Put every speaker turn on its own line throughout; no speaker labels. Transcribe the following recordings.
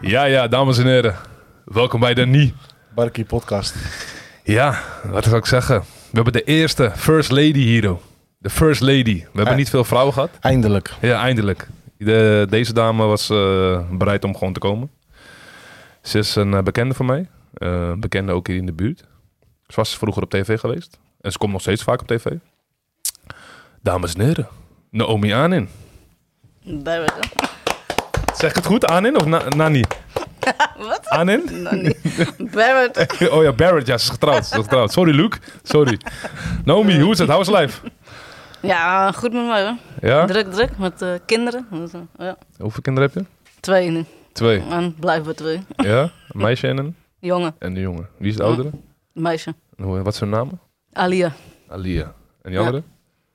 Ja, ja, dames en heren. Welkom bij de Nie.
Barkie podcast.
Ja, wat zou ik zeggen? We hebben de eerste First Lady Hero. De First Lady. We hebben
Eh.
niet veel vrouwen gehad.
Eindelijk.
Ja, eindelijk. De, deze dame was eh, bereid om gewoon te komen. Ze is een eh, bekende van mij. Eh, bekende ook hier in de buurt. Ze was vroeger op tv geweest. En ze komt nog steeds vaak op tv. Dames en heren. Naomi Anin.
Daar werd het.
Zeg ik het goed, Anin of Na- Nani?
Wat?
Anin?
Nou, nee. Barrett.
Oh ja, Barrett, ja, ze is getrouwd. Ze is getrouwd. Sorry, Luke. Sorry. Naomi, hoe is het? How's life?
Ja, goed met mij hoor.
Ja?
Druk, druk met eh, kinderen. Dus, eh, ja.
Hoeveel kinderen heb je?
Twee nu.
Twee.
En blijven twee.
Ja? Een meisje en een,
Jongen,
en een jongen. Wie is de oudere?
meisje.
En hoe- Wat is hun naam?
Alia.
Alia. En die
Ja.
andere?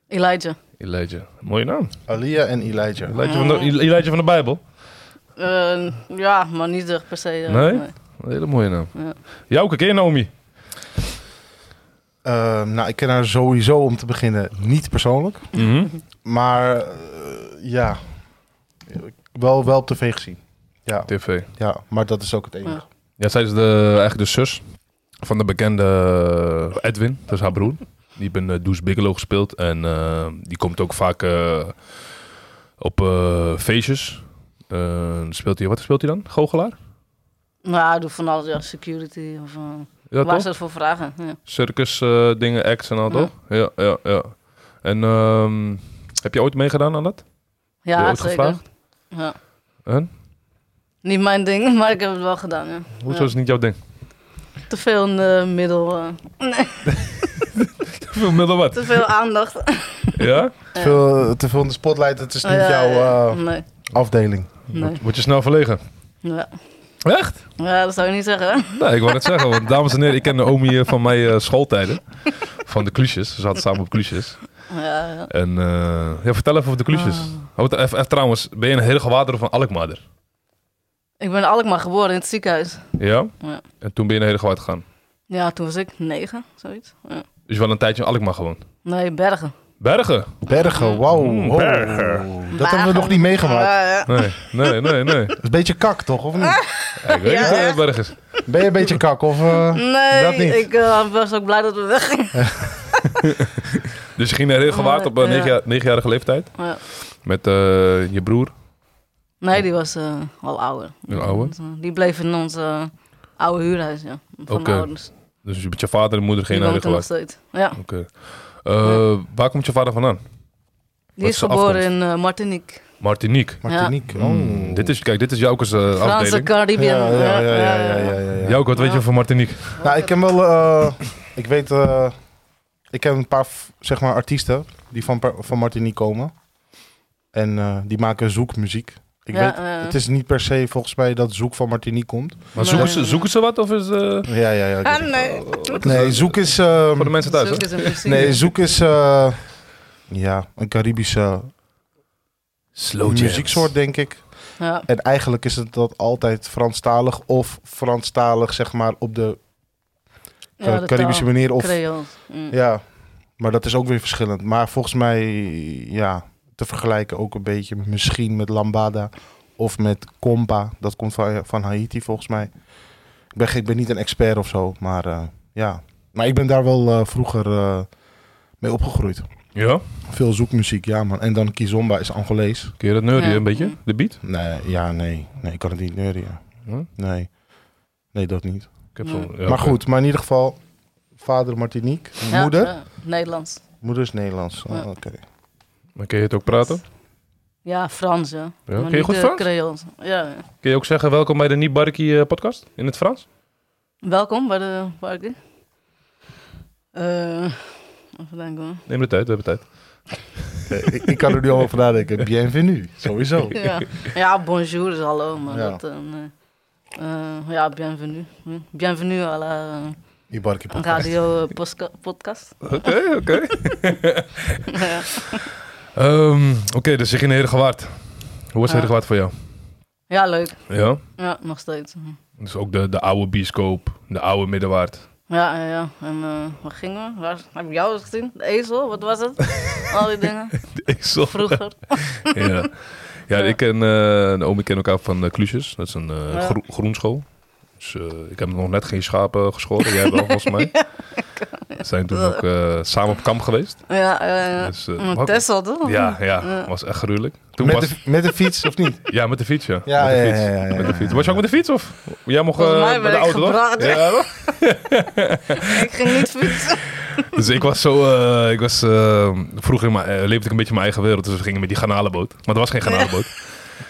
Elijah.
Elijah. Mooie naam.
Alia en Elijah.
Elijah van de, Elijah van de Bijbel.
Eh, ja, maar niet echt per se. eh,
Nee? Een hele mooie naam.
Ja.
Jouke, ken je Naomi?
Ehm, nou, ik ken haar sowieso om te beginnen niet persoonlijk.
Mhm.
Maar eh, ja, wel, wel op tv gezien. Ja,
TV.
ja, maar dat is ook het
Oh,
enige.
Ja, zij is de, eigenlijk de zus van de bekende eh, Edwin. Dat is haar broer. Die heeft in uh, Does Bigelow gespeeld. En eh, die komt ook vaak eh, op eh, feestjes. Eh, speelt hij, wat speelt hij dan? Goochelaar?
Nou, doe van alles. Ja, security. Of, eh,
Ja,
waar
toch?
ze het voor vragen. Ja.
Circus eh, dingen, acts en al,
Ja.
toch? Ja, ja, ja. En ehm, heb je ooit meegedaan aan dat? je
Ja,
ooit
zeker.
gevraagd?
Ja.
En?
Niet mijn ding, maar ik heb het wel gedaan. Ja.
Hoezo
Ja.
is het niet jouw ding?
Te veel in de middel, eh,
Middel wat?
te veel aandacht.
Ja?
Te, veel, eh, te veel in de spotlight, het is niet
Oh, Ja,
jouw
ja.
eh,
Nee,
afdeling.
nee.
Word je snel verlegen?
Ja.
Echt?
ja, dat zou je niet zeggen. hè?
Nou, ik wou net zeggen, want dames en heren, ik ken de omi eh, van mijn eh, schooltijden. Van de klusjes. Ze zaten samen op klusjes.
Ja, ja.
En eh, ja, vertel even over de klusjes. Oh, t- even, even trouwens, ben je een hergewaarder of een alkmaarder?
Ik ben in Alkmaar geboren in het ziekenhuis.
Ja?
Ja.
En toen ben je naar Hedegewaard gegaan.
Ja, toen was ik negen, zoiets. Ja.
Dus je wel een tijdje in Alkmaar gewoond.
Nee, Bergen.
Bergen?
Bergen, wauw.
Mm,
wow.
Bergen.
Dat hebben we nog niet meegemaakt.
Ja, ja.
Nee, nee, nee, nee.
Dat is een beetje kak, toch? Of niet?
Ja, ik weet niet wat eh, Bergen is.
Ben je een beetje kak? Of, eh, dat
Nee,
niet.
ik eh, was ook blij dat we weggingen.
Dus je ging naar Hedegewaard op eh,
Ja.
negen jaar- negenjarige leeftijd.
Ja.
Met eh, je broer,
Nee, die was eh, al ouder.
je oude.
Die bleef in ons eh, oude huurhuis, ja. Van de
Oké.
ouders.
Dus met je vader en moeder ging
die
naar
woont dus. er nog
Hedegewaard.
steeds. Ja, die
Oké. Eh, Waar komt je vader vandaan? Wat
is
is de
geboren
afkomst?
in eh, Martinique.
Martinique.
Martinique. Oh.
Mm, dit is, kijk, dit is Jouke's eh,
Franse
afdeling.
Caribbean.
Ja, ja, ja, ja, ja, ja, ja, ja.
Jouke, wat weet je van Martinique?
Nou, ik ken wel. eh, ik weet. eh, ik ken een paar f- zeg maar, artiesten die van, Par- van Martinique komen. En eh, die maken zoekmuziek. Ik
Ja, eh.
weet,
ja, ja.
het is niet per se volgens mij dat zoek van Martinique komt.
Maar
Nee.
zoeken, ze, zoeken ze wat? Of is, eh,
Ja, ja, ja. ik
Ah,
weet het.
nee.
Nee, zoek is. eh,
voor de mensen thuis, hè?
Zulke is in principe.
nee, zoek is. eh, ja, een Caribische
Slow
muzieksoort, denk ik.
Ja.
En eigenlijk is het dat altijd Franstalig of Franstalig, zeg maar, op de
Ja,
eh,
de
Caribische
taal.
manier. Of
Creool. Mm.
Ja, maar dat is ook weer verschillend. Maar volgens mij, ja, te vergelijken ook een beetje misschien met Lambada of met Compa. Dat komt van, van Haiti volgens mij. Ik ben, geen- ik ben niet een expert of zo, maar eh, ja. Maar ik ben daar wel eh, vroeger eh, mee opgegroeid.
Ja?
Veel zoekmuziek, ja man. En dan Kizomba is Angolees.
Kun je dat neurien
Ja.
een beetje? De beat?
Nee, ja, nee. Nee, ik kan het niet neurien.
Huh?
Nee. Nee, dat niet.
Ik heb
Ja.
zo'n- ja,
maar
oké.
goed, maar in ieder geval, vader Martinique,
Ja,
moeder.
ja, Nederlands.
Moeder is Nederlands. Oh,
Ja.
Oké.
Maar kun je het ook praten?
Ja, Frans, ja. Maar
kun je
niet,
goed
eh,
Frans?
Creools. Ja, ja.
Kun je ook zeggen welkom bij de Niet Barkie eh, podcast? In het Frans?
Welkom bij de party. Eh even denken hoor.
Neem de tijd, we hebben tijd.
Eh, ik, ik kan er nu al over nadenken. Bienvenue, sowieso.
Ja. ja, bonjour is hallo, maar
Ja.
dat... eh, nee. Eh, ja, bienvenue. Hm. Bienvenue à la eh,
Ibarki podcast.
radio eh, posca- podcast.
Oké, oké.
ja.
Ehm, oké, dus je ging naar Hedegewaard. Hoe was
Ja.
Hedegewaard voor jou?
ja, leuk.
Ja?
Ja, nog steeds. Hm.
Dus ook de, de oude bioscoop, de oude middenwaard.
Ja, ja, ja. En eh, waar gingen we? Waar, heb ik jou eens gezien? De ezel, wat was het? Al die dingen.
Ik zag-
Vroeger.
Ja. Ja,
Ja.
ik en eh en oom ik kennen elkaar van eh Kluusjes. Dat is een eh,
Ja.
groe- groenschool. Dus eh, ik heb nog net geen schapen geschoren. Jij wel, volgens mij. We zijn toen ook eh, samen op kamp geweest.
Ja, ja, ja.
Dus, eh,
Maar
wat-
Tessel, toch?
Ja, ja,
Ja.
was echt gruwelijk. Toen
Met
was,
de, met de fiets, of niet?
Ja, met de fiets, ja.
Ja,
met de
ja,
fiets.
ja, ja, ja,
met de
ja,
fiets. Was je ook met de fiets? Of jij mocht eh
Volgens mij
met
ben
de
ik
auto, toch?
gebracht.
Ja, toch?
Ik ging niet fietsen.
Dus ik was zo, eh, ik was, eh, vroeger in mijn- eh, leefde ik een beetje in mijn eigen wereld. Dus we gingen met die garnalenboot. Maar er was geen garnalenboot.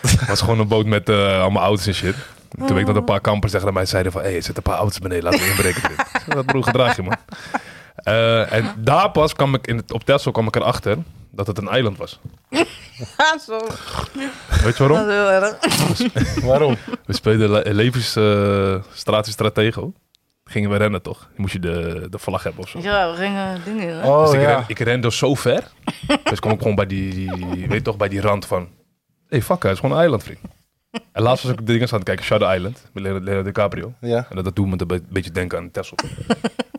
Het was gewoon een boot met eh, allemaal auto's en shit. Toen weet ik dat een paar kampers tegen mij zeiden van... Hé, hey, er zitten een paar auto's beneden, laten we inbreken. dit." Ik zei, Wat broer, gedraag je man. Eh, en daar pas kwam ik, in het, op Texel kwam ik erachter dat het een eiland was.
Ja, zo.
Weet je
Dat is
waarom?
heel erg.
Waarom?
We speelden le Levi's eh, Straatje Stratego. Gingen we rennen toch? Dan moest je de, de vlag hebben of zo.
Ja, we gingen dingen. hè?
Oh
dus ik,
ja.
ren, ik ren dus zo ver. dus kom ik gewoon bij die, die- weet toch, bij die rand van... hey, fuck, het is gewoon een eiland, vriend. En laatst was ik de dingen aan het kijken, Shadow Island, met Leo- Leonardo DiCaprio.
ja.
En dat, dat doet me een be- beetje denken aan Tesla.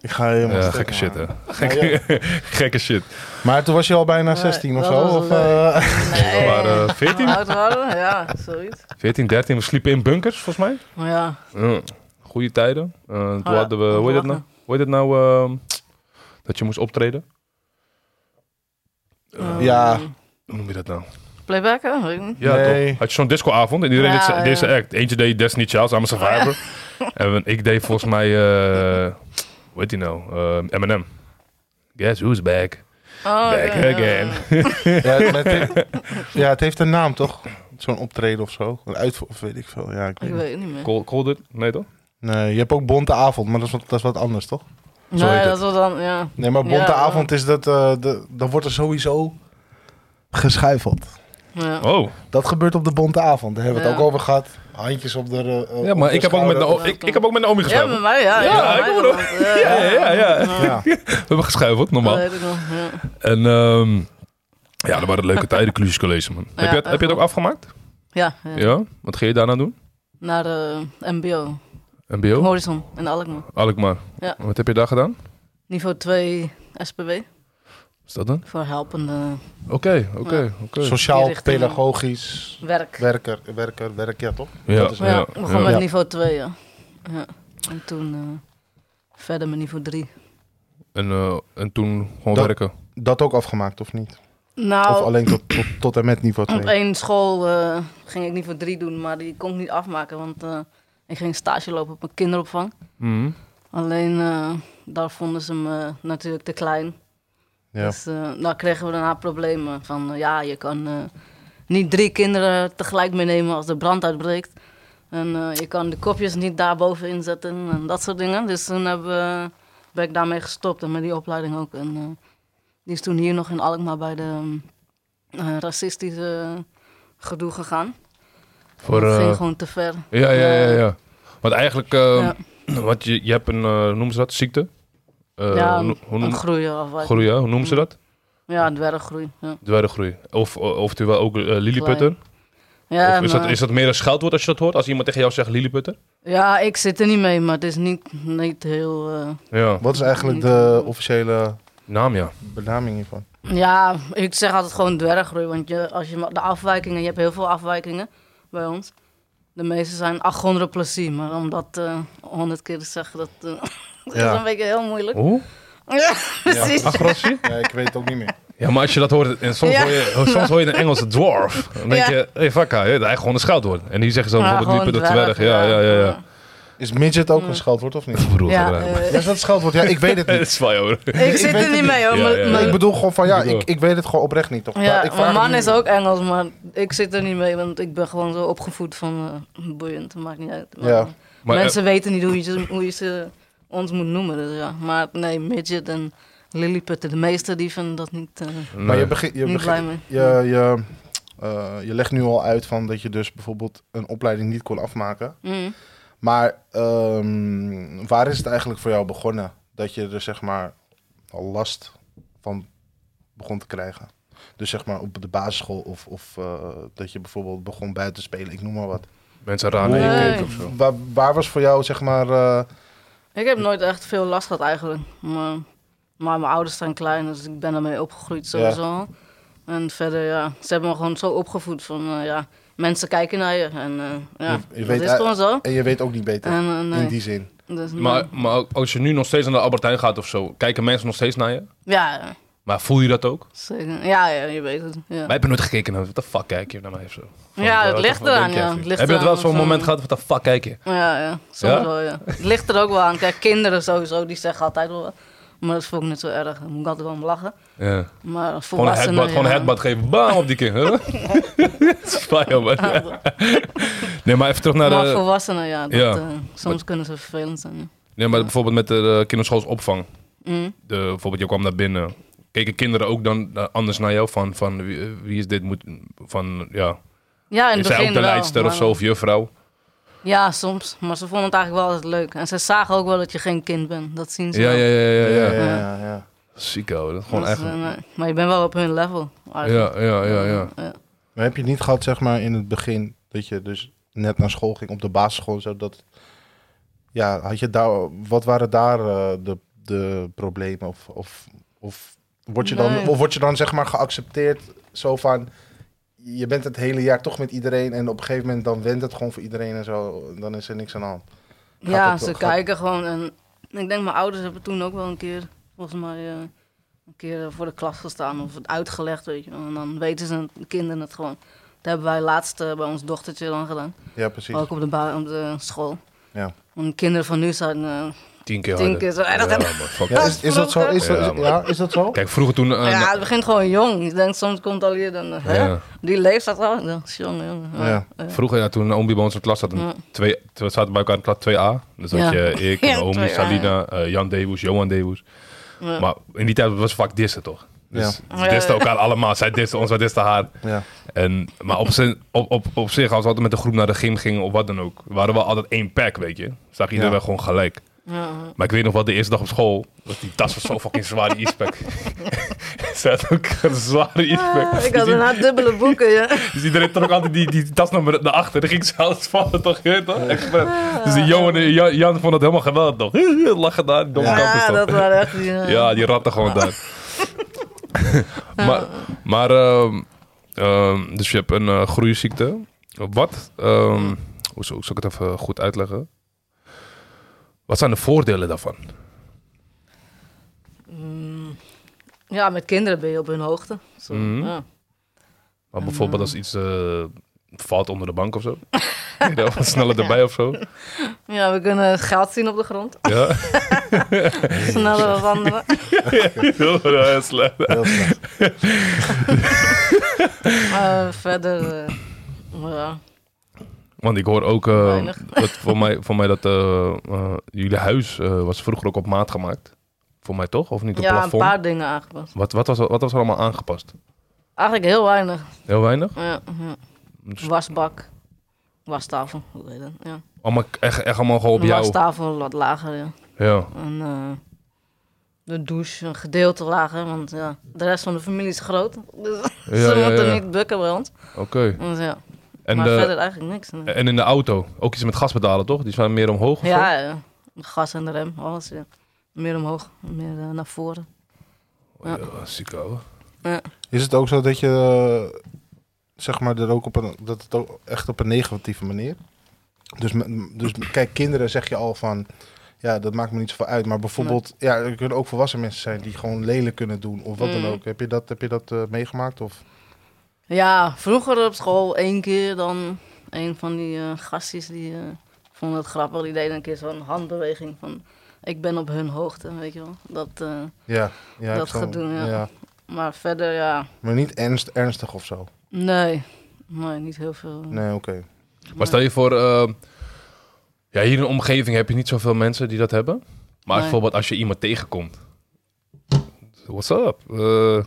Ik ga helemaal
Ja,
stuk,
gekke
man.
shit, hè. Gekke, gekke shit.
Maar toen was je al bijna 16 of
dat
zo?
was
Of,
leuk.
eh,
We
Nee.
waren 14,
Oud waren? Ja, zoiets.
14, 13. We sliepen in bunkers, volgens mij.
Maar ja,
Ja. Goeie tijden. Eh, toen
ja,
hadden we, hoe heet dat nou? Hoe heet dat nou, ehm, dat je moest optreden?
eh,
ja,
Hoe noem je dat nou?
Playbacken? Weet ik niet.
Ja,
Nee.
toch? Had je zo'n discoavond en iedereen
Ja,
deed zijn- deed
Nou, ja.
zijn act. Eentje deed Destiny Child, I'm a Survivor. en ik deed volgens mij, eh hoe heet die nou? Eh, Eminem. Guess who's back?
Oh,
back
ja, ja,
again.
ja.
ja, het- het heeft- ja, het heeft een naam toch? Zo'n optreden of zo. Een uitvoer, of weet ik veel. Ja, ik weet
Ik
niet.
weet het niet meer.
Call, called it? Nee toch?
Nee, je hebt ook Bonte Avond, maar dat is wat, dat is wat anders toch?
Zo heet
Nee, dat
het.
was dan, ja.
Nee, maar Bonte
Ja, ja.
Avond is dat, eh, de, dan wordt er sowieso geschuifeld.
ja.
Oh.
Dat gebeurt op de Bonte Avond, daar hebben we het
Ja.
ook over gehad. Handjes op de. eh,
Ja,
op
maar
de
ik heb, ook met
schouder.
de, ik, ik heb ook met de omi
Ja,
geschuifeld.
met mij, ja.
Ja,
Ja,
ik
mij
hoor
was-
Ja, ja, ja.
Ja.
We hebben geschuifeld,
Dat
normaal.
weet ik nog, ja.
En ehm, ja, dat waren leuke tijden, Clusius College, man. heb, je het, heb je het ook afgemaakt?
Ja,
Ja.
ja.
Wat ga je daarna doen?
Naar de MBO.
MBO?
Horizon in Alkmaar.
Alkmaar.
Ja.
Wat heb je daar gedaan?
Niveau 2 SPW.
Is dat dan?
Voor helpende
Oké, oké, oké.
Sociaal,
Die richting.
pedagogisch,
werk.
werker, werker, werk, ja toch?
Ja,
Dat is-
Maar ja,
ja,
ik begon
ja.
met
Ja.
niveau 2, ja. ja. En toen eh, verder met niveau 3.
En, eh, en toen gewoon
Dat-
werken.
Dat ook afgemaakt of niet?
Nou,
Of alleen tot, tot, tot en met niveau
op
2?
één school eh, ging ik niveau 3 doen, maar die kon ik niet afmaken, want eh, ik ging stage lopen op een kinderopvang.
Mhm.
Alleen eh, daar vonden ze me natuurlijk te klein.
Ja.
Dus eh, daar kregen we daarna problemen van, eh, ja, je kan eh, niet drie kinderen tegelijk meenemen als de brand uitbreekt. En eh, je kan de kopjes niet daarboven inzetten en dat soort dingen. Dus toen hebben we- ben ik daarmee gestopt en met die opleiding ook. En eh, die is toen hier nog in Alkmaar bij de ehm, eh, racistische gedoe gegaan.
Voor,
dat
eh,
ging gewoon te ver.
ja, ja, ja, ja. Want eigenlijk, eh,
Ja.
want je, je hebt een, eh, hoe noemen ze dat, ziekte? Eh,
ja,
hoe,
een,
no- hoe noem-
een groei of wat.
groei, hè? hoe noemen ze dat?
Ja, dwerggroei. Ja,
Dwerggroei. Of, of oftewel ook eh, lilliputter.
ja, eh,
Of is, dat,
maar-
is dat meer een scheldwoord als je dat hoort? Als iemand tegen jou zegt lilliputter?
ja ik zit er niet mee, maar het is niet, niet heel... eh,
Ja,
Wat is eigenlijk de officiële
naam ja.
benaming hiervan?
Ja, ik zeg altijd gewoon dwerggroei. Want je, als je ma- de afwijkingen, je hebt heel veel afwijkingen bij ons. De meeste zijn achondroplasie, maar om dat honderd keer te zeggen, dat eh, dat
Ja.
is een beetje heel moeilijk.
Hoe?
Ja, precies. Ja,
Agrossie?
Ja, ik weet het ook niet meer.
Ja, maar als je dat hoort, en soms,
Ja.
hoor, je, oh, soms hoor je een Engelse dwarf. Dan denk
Ja.
je, hey, fuck, hij, dat is eigenlijk gewoon een scheldwoord. En die zeggen zo, bijvoorbeeld
gewoon
lilliputter dwerg. Ja, ja, ja. ja.
Is midget ook een scheldwoord of niet?
Broer,
Ja,
gebruik.
eh,
Ja, Is dat een scheldwoord? Ja, ik weet het
Het
niet.
is wel, hoor.
ik zit
weet
er
het
niet
niet.
mee hoor.
Ja,
maar-
ja, ja.
maar-
Ik bedoel gewoon van ja,
Ik bedoel-
ik, ik weet het gewoon oprecht niet toch?
ja,
ik vraag
mijn
het
man
nu.
is ook Engels, maar ik zit er niet mee, want ik ben gewoon zo opgevoed van eh boeiend, maakt niet uit. Maar,
Ja.
eh,
Maar, eh,
Mensen weten niet hoe je, ze- hoe je ze ons moet noemen, dus ja. Maar nee, midget en lilliputter, de meesten die vinden dat niet... eh,
Maar je
nee.
begint, je,
Niet
begint-
blij mee.
je, je, eh, je legt nu al uit van dat je dus bijvoorbeeld een opleiding niet kon afmaken.
mm.
Maar ehm, waar is het eigenlijk voor jou begonnen dat je er zeg maar al last van begon te krijgen? Dus zeg maar op de basisschool of, of eh, dat je bijvoorbeeld begon buiten te spelen, ik noem maar wat.
mensen raar naar
Nee.
je kijken of zo.
Waar, waar was voor jou zeg maar... eh,
Ik heb nooit echt veel last gehad eigenlijk. Maar, maar mijn ouders zijn klein, dus ik ben daarmee opgegroeid sowieso. al. En verder, ja, ze hebben me gewoon zo opgevoed van, eh, ja, mensen kijken naar je. En eh, ja,
Je- je
dat
weet
is
uit-
gewoon zo.
En je weet ook niet beter.
En, eh, nee.
In die zin.
Dus,
Maar,
nee.
maar ook als je nu nog steeds naar de Albertijn gaat of zo, kijken mensen nog steeds naar je?
ja, ja,
Maar voel je dat ook?
zeker. Ja, ja, je weet het. Ja,
Wij hebben nooit gekeken naar wat de fuck kijk je naar mij of zo. Van,
ja
eh,
het
wat-
ligt
wat denk
eraan,
jij,
ja.
vriend?
Het ligt
Heb je het
eraan
wel zo'n
of,
moment
eh,
gehad, wat de fuck kijk je?
Ja, ja, soms
Ja?
wel, ja. Het ligt er ook wel aan. Kijk, kinderen sowieso, die zeggen altijd wel wat. Maar dat vond ik niet zo erg. Daar moet ik altijd wel om lachen.
Ja.
Maar
Gewoon een
volwassenen...
headbutt, gewoon een
ja.
headbutt geven, bam, op die kind. Huh? Dat is fijn, joh, man. Nee, maar even terug naar
Maar
de...
volwassenen, ja. Dat,
eh, Ja.
eh, soms kunnen ze vervelend zijn. ja.
Nee, maar bijvoorbeeld met de eh, kinderschoolsopvang.
Mm.
De, bijvoorbeeld, je kwam naar binnen. Keken kinderen ook dan eh, anders naar jou? Van, van wie, eh, wie is dit? Moet, van, ja.
Ja, in
Is
het
zij
begin
ook de
wel,
leidster of
maar-
zo? Of juffrouw?
Ja, soms. Maar ze vonden het eigenlijk wel altijd leuk. En ze zagen ook wel dat je geen kind bent. Dat zien ze
Ja,
wel.
ja, ja, ja. ja.
ja, ja.
Ziek, hoor. Dat is
Dat
gewoon
is,
echt...
eh, nee. maar je bent wel op hun level. eigenlijk.
Ja, ja, ja, ja.
Maar heb je niet gehad, zeg maar, in het begin dat je dus net naar school ging op de basisschool, zodat ja, had je daar, wat waren daar eh, de, de problemen of, of, of word je dan,
Nee.
of word je dan zeg maar geaccepteerd zo van je bent het hele jaar toch met iedereen en op een gegeven moment dan went het gewoon voor iedereen en zo, dan is er niks aan de hand.
Ja,
dat-
ze
gaat-
kijken gewoon. En ik denk, mijn ouders hebben toen ook wel een keer, volgens mij, eh, een keer eh, voor de klas gestaan of het uitgelegd, weet je wel. En dan weten ze, de kinderen het gewoon. Dat hebben wij laatst eh, bij ons dochtertje dan gedaan.
Ja, precies.
Ook op de, ba- op de school.
Ja.
Want de kinderen van nu zijn... eh,
Tien keer
Tien
harder.
keer zo erg.
Ja, man, fuck
Ja,
it.
is, is dat zo? Is
Ja,
dat,
man.
ja, is dat zo?
Kijk, vroeger toen... eh,
ja, het begint gewoon jong. Ik denk, soms komt al hier dan... eh, hè?
Ja.
Die leeftijd oh, al. Ik dacht, jongen, jongen.
Ja.
Vroeger, ja, toen Omi bij ons in de klas zat, een
Ja.
twee, we zaten bij elkaar in klas 2A. Dus dat
Ja.
je ik,
Ja,
Omi,
2A,
Salina, eh, Jan Dewoes, Johan Dewoes.
Ja.
Maar in die tijd was het vaak dissen, toch? Dus
Ja.
ze disten elkaar allemaal. Zij disten ons, wij disten haar.
Ja.
En, maar op, zin- op, op, op zich, als we altijd met de groep naar de gym gingen of wat dan ook, waren we altijd één pack, weet je. Zag iedereen
Ja.
wel gewoon gelijk.
Ja.
Maar ik weet nog wel, de eerste dag op school, was die tas was zo fucking zwaar, die e-spec. Ze had ook een zware e-spec.
Ah, ik had daarna dubbele boeken, ja.
Dus iedereen trok altijd die, die tas naar, naar achter. Dan ging ze alles vallen, toch? Je weet toch? Expres.
Ah.
Dus die Johan, en Jan, Jan vond het helemaal geweldig, toch? Lachen daar, die domme
Ja,
kampers,
Ja,
toch?
dat waren echt... eh, Ja,
Ja, die ratten gewoon
Ah.
daar. maar, maar ehm, ehm, dus je hebt een eh, groeiziekte. Wat, ehm, hoe zal hoe zal ik het even goed uitleggen? Wat zijn de voordelen daarvan?
Mm. Ja, met kinderen ben je op hun hoogte. Zo,
Mhm.
ja.
Maar bijvoorbeeld
Ehm.
als iets eh, valt onder de bank of zo. Dan wat sneller erbij of zo.
ja, we kunnen geld zien op de grond.
Ja,
Sneller wandelen.
Ja, slecht.
Heel slecht.
Eh, verder... eh, ja.
Want ik hoor ook, eh,
Weinig.
dat voor, mij, voor mij dat eh, eh, jullie huis eh, was vroeger ook op maat gemaakt. Voor mij toch? Of niet op
ja, een
plafond?
paar dingen aangepast.
Wat, wat, was, er- wat was er allemaal aangepast?
Eigenlijk heel weinig.
Heel weinig?
Ja, ja.
Dus
Wasbak. Wastafel. Hoe heet dat? Ja.
allemaal, echt, echt allemaal gewoon op
De
jou?
wastafel wat lager, ja.
Ja.
En eh, de douche een gedeelte lager, want ja, de rest van de familie is groot. Dus
Ja,
ze
ja,
moeten
ja.
niet bukken bij ons.
Oké.
Dus, ja.
En,
maar
de- Eh,
verder eigenlijk niks. nee.
en in de auto? Ook iets met gas betalen, toch? Die zijn meer omhoog of zo?
Ja, ja. De gas en de rem, alles. Ja. Meer omhoog, meer eh, naar voren. ja.
Ja, Ah, ziek ouwe.
Is het ook zo dat je eh, zeg maar er ook op een dat het ook echt op een negatieve manier? Dus, me- dus kijk, kinderen zeg je al van ja, dat maakt me niet zoveel uit. Maar bijvoorbeeld, ja, er kunnen ook volwassen mensen zijn die gewoon lelijk kunnen doen of wat
Mm.
dan ook. Heb je dat, heb je dat eh, meegemaakt? Of?
Ja, vroeger op school één keer dan een van die eh, gastjes die eh, vonden het grappig. Die deden een keer zo'n handbeweging van ik ben op hun hoogte, weet je wel. Dat, eh,
Ja, ja ik
Dat
zal-
gaat doen, ja. maar verder ja,
Maar niet ernst, ernstig of zo.
nee. Nee, niet heel veel.
Nee, oké.
Maar stel je voor... eh, ja, hier in de omgeving heb je niet zoveel mensen die dat hebben. Maar
Nee.
bijvoorbeeld als je iemand tegenkomt. What's up? Eh,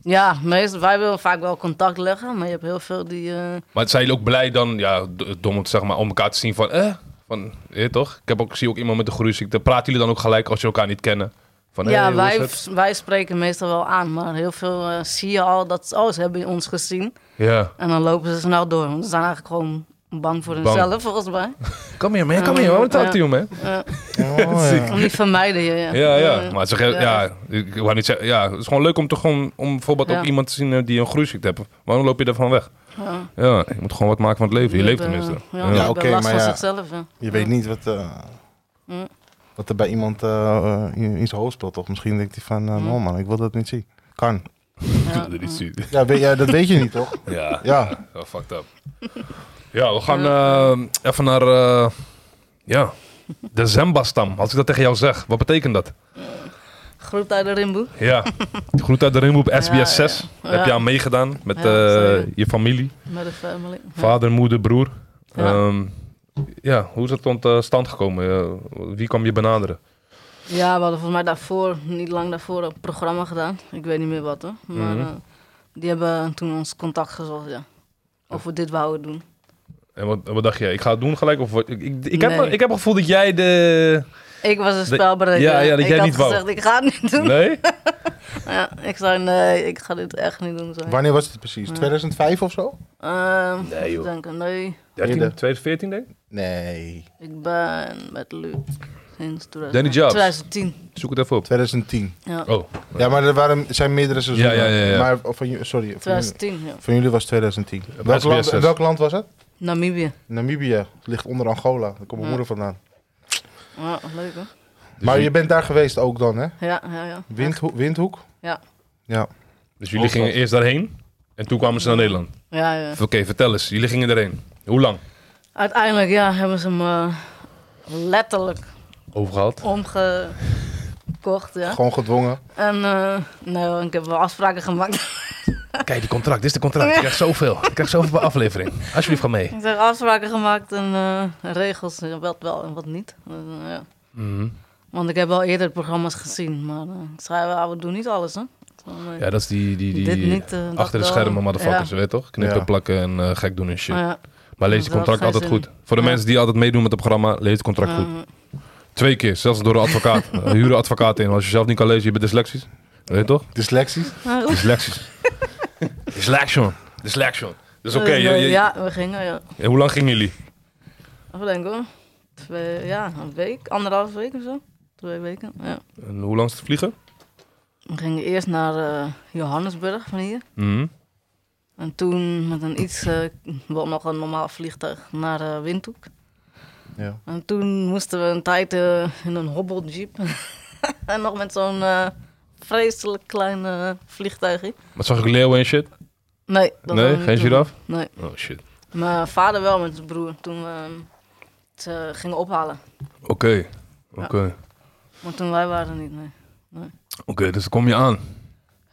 Ja, meestal, wij willen vaak wel contact leggen, maar je hebt heel veel die... eh,
maar zijn jullie ook blij dan, ja, d- dom om te zeggen, maar om elkaar te zien van, eh, van, je weet toch? Ik heb ook, zie ook iemand met een groeiziekte. Praten jullie dan ook gelijk als je elkaar niet kennen? Van,
ja,
hey, hoe is
wij,
het?
wij spreken meestal wel aan, maar heel veel eh, zie je al dat... Oh, ze hebben ons gezien.
Ja,
En dan lopen ze snel door. Want ze zijn eigenlijk gewoon Bang voor
Bang.
hunzelf, volgens mij.
Kom hier, man. Kom hier. Waarom talk to you, man?
Eh,
Oh, ja.
om die vermijden je, ja.
Ja, ja.
Eh,
Maar ze ge-
ja.
ja, ik wou niet zeggen. Ja, het is gewoon leuk om, te gewoon, om bijvoorbeeld
Ja.
ook iemand te zien eh, die een groeisziekte heeft. Waarom loop je daarvan weg?
ja.
Ja, je moet gewoon wat maken van het leven. Je
Ik
leeft
ben,
tenminste.
eh, Ja,
Ja.
ik
Ja,
ben
oké,
last
maar
van
ja,
zichzelf, ja.
Je
Ja.
weet niet wat, eh,
Mm.
wat er bij iemand eh, eh, in in zijn hoofd speelt. Of misschien denkt hij van, eh,
Mm.
oh man, ik wil dat niet zien. Kan.
Ja.
Dat is-
Ja, weet, ja, dat weet je niet, toch?
Ja,
Ja.
wel fucked up. Ja, we gaan eh, even naar eh, ja, de Zemba-stam. Als ik dat tegen jou zeg, wat betekent dat?
Groet uit de rimboe.
Ja, groet uit de ringboep
Ja,
SBS 6.
ja.
Heb je
Ja.
aan meegedaan met
Ja,
eh,
zeker.
je familie,
Met de family. Ja.
vader, moeder, broer.
Ja.
Ehm, ja, hoe is dat tot eh, stand gekomen? Eh, wie kwam je benaderen?
Ja, we hadden volgens mij daarvoor, niet lang daarvoor, een programma gedaan. Ik weet niet meer wat hoor. Maar
Mhm.
eh, die hebben toen ons contact gezocht, ja. Of we dit wouden doen.
En wat, wat dacht je? Ik ga het doen gelijk? Of, wat? ik, ik, ik, heb,
Nee.
ik heb het gevoel dat jij de...
Ik was een
Dat-
spelbereker.
ja, ja, dat
ik
jij
had
niet wou.
gezegd, ik ga het niet doen.
Nee?
Ja, ik zei, nee, ik ga dit echt niet doen. Zei. ik.
Wanneer was het precies? 2005 of zo?
Ehm,
Nee,
even
joh.
denken, nee,
13,
Eerder.
2014 denk ik?
Nee.
ik ben met Luut sinds 2000
Danny Jobs.
2010.
Zoek het even op.
2010.
Ja,
Oh,
Ja, maar er waren, er zijn meerdere seizoenen.
Ja, ja, ja, ja.
Maar van, ju- sorry, van, jullie-
2010, ja.
van jullie was 2010. Welk
SBS
land,
zes.
welk land was het?
Namibië.
Namibië. Het ligt onder Angola. Daar komt mijn
Ja.
moeder vandaan.
Ja, leuk hoor.
dus
Maar
jullie-
je bent daar geweest ook dan, hè?
Ja, ja, ja.
Windhoek? Windhoek?
Ja.
Ja.
Dus jullie gingen eerst daarheen en toen kwamen ze naar Nederland.
Ja, ja.
Oké, vertel eens. Jullie gingen erheen. Hoe lang?
Uiteindelijk ja, hebben ze hem eh, letterlijk
Overgehaald.
omgekocht. Ja.
Gewoon gedwongen.
En eh, nee, hoor, ik heb wel afspraken gemaakt.
Kijk, die contract. Dit is de contract. Ik krijg zoveel. Ik krijg zoveel per aflevering. Alsjeblieft, ga mee.
ik zeg afspraken gemaakt en eh, regels, eh, wat wel en wat niet. Dus, eh, ja.
Mhm.
Want ik heb wel eerder programma's gezien, maar eh, ik zei, "Ah, we doen niet alles. Hè? Ik zei, nee.
Ja, dat is die, die, die
Dit niet, eh, dat
achter de
wel.
schermen motherfuckers,
Ja.
weet je toch? Knippen,
Ja.
plakken en eh, gek doen en shit.
Maar ja,
Maar lees die
Dat is wel
contract altijd
geen
goed. Voor de
Ja.
mensen die altijd meedoen met het programma, lees het contract
eh,
goed. Twee keer, zelfs door een advocaat. Eh, Huur een advocaat in. Als je zelf niet kan lezen, je bent dyslexisch. Weet je toch?
Dyslexisch?
maar goed.
Dyslexisch. Dyslexion. Dyslexion. Dus oké,
Eh,
je- je-
Ja, we gingen, ja.
en hoe lang gingen jullie?
Even denken hoor. Twee, ja, een week, anderhalf week of zo. Twee weken, ja.
En hoe lang is het vliegen?
We gingen eerst naar eh, Johannesburg van hier.
Mhm.
En toen met een iets, eh, wel nog een normaal vliegtuig, naar eh, Windhoek.
Ja.
En toen moesten we een tijd eh, in een hobbeljeep. en nog met zo'n eh, vreselijk klein eh, vliegtuigje.
Maar zag ik leeuwen en shit?
Nee, dat
nee,
hadden we
geen
niet doen.
giraf?
Nee.
Oh shit.
Mijn vader wel met zijn broer toen we hem het, eh, gingen ophalen.
Oké, oké.
Maar toen wij waren er niet, nee.
Oké, dus dan kom je aan.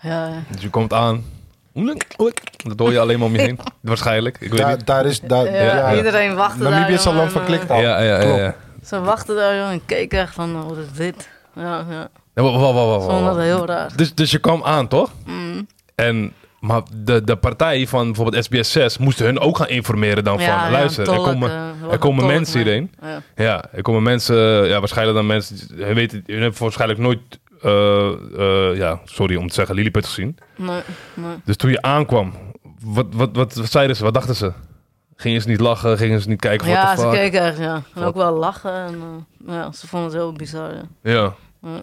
Ja, ja.
Dus je komt aan. Dat hoor je alleen maar om je heen. Waarschijnlijk, ik weet
Daar,
niet.
daar is... Daar,
Ja,
ja,
iedereen wachtte daar.
Namibië is een
jongen,
land van
en,
kliktaal.
Ja, ja, ja. ja,
Klopt.
ja.
eh, Ze wachten daar jongen, en keken echt van, oh, wat is dit? Ja, ja.
Nee, wa- wa- wa- wa- wa-
Ze vonden dat
wa.
heel raar.
Dus, dus je kwam aan, toch?
Mm.
En, maar de, de partij van bijvoorbeeld SBS 6 moesten hun ook gaan informeren dan
Ja,
van...
ja,
Luister,
tolk,
er komen,
eh, er wordt
er komen
getolkt,
mensen
maar-
hierheen.
Ja.
Ja, er komen mensen, eh, ja, waarschijnlijk dan mensen, hun, weten, hun hebben waarschijnlijk nooit, eh, eh, ja, sorry om te zeggen, Lilliput gezien.
Nee, nee.
Dus toen je aankwam, wat, wat, wat, wat zeiden ze, wat dachten ze? Gingen ze niet lachen, gingen ze niet kijken, what
Ja,
the
ze
fuck?
keken echt, ja. En
Fuck. ook
ook wel lachen. En, eh, ja, ze vonden het heel bizar, ja.
Ja,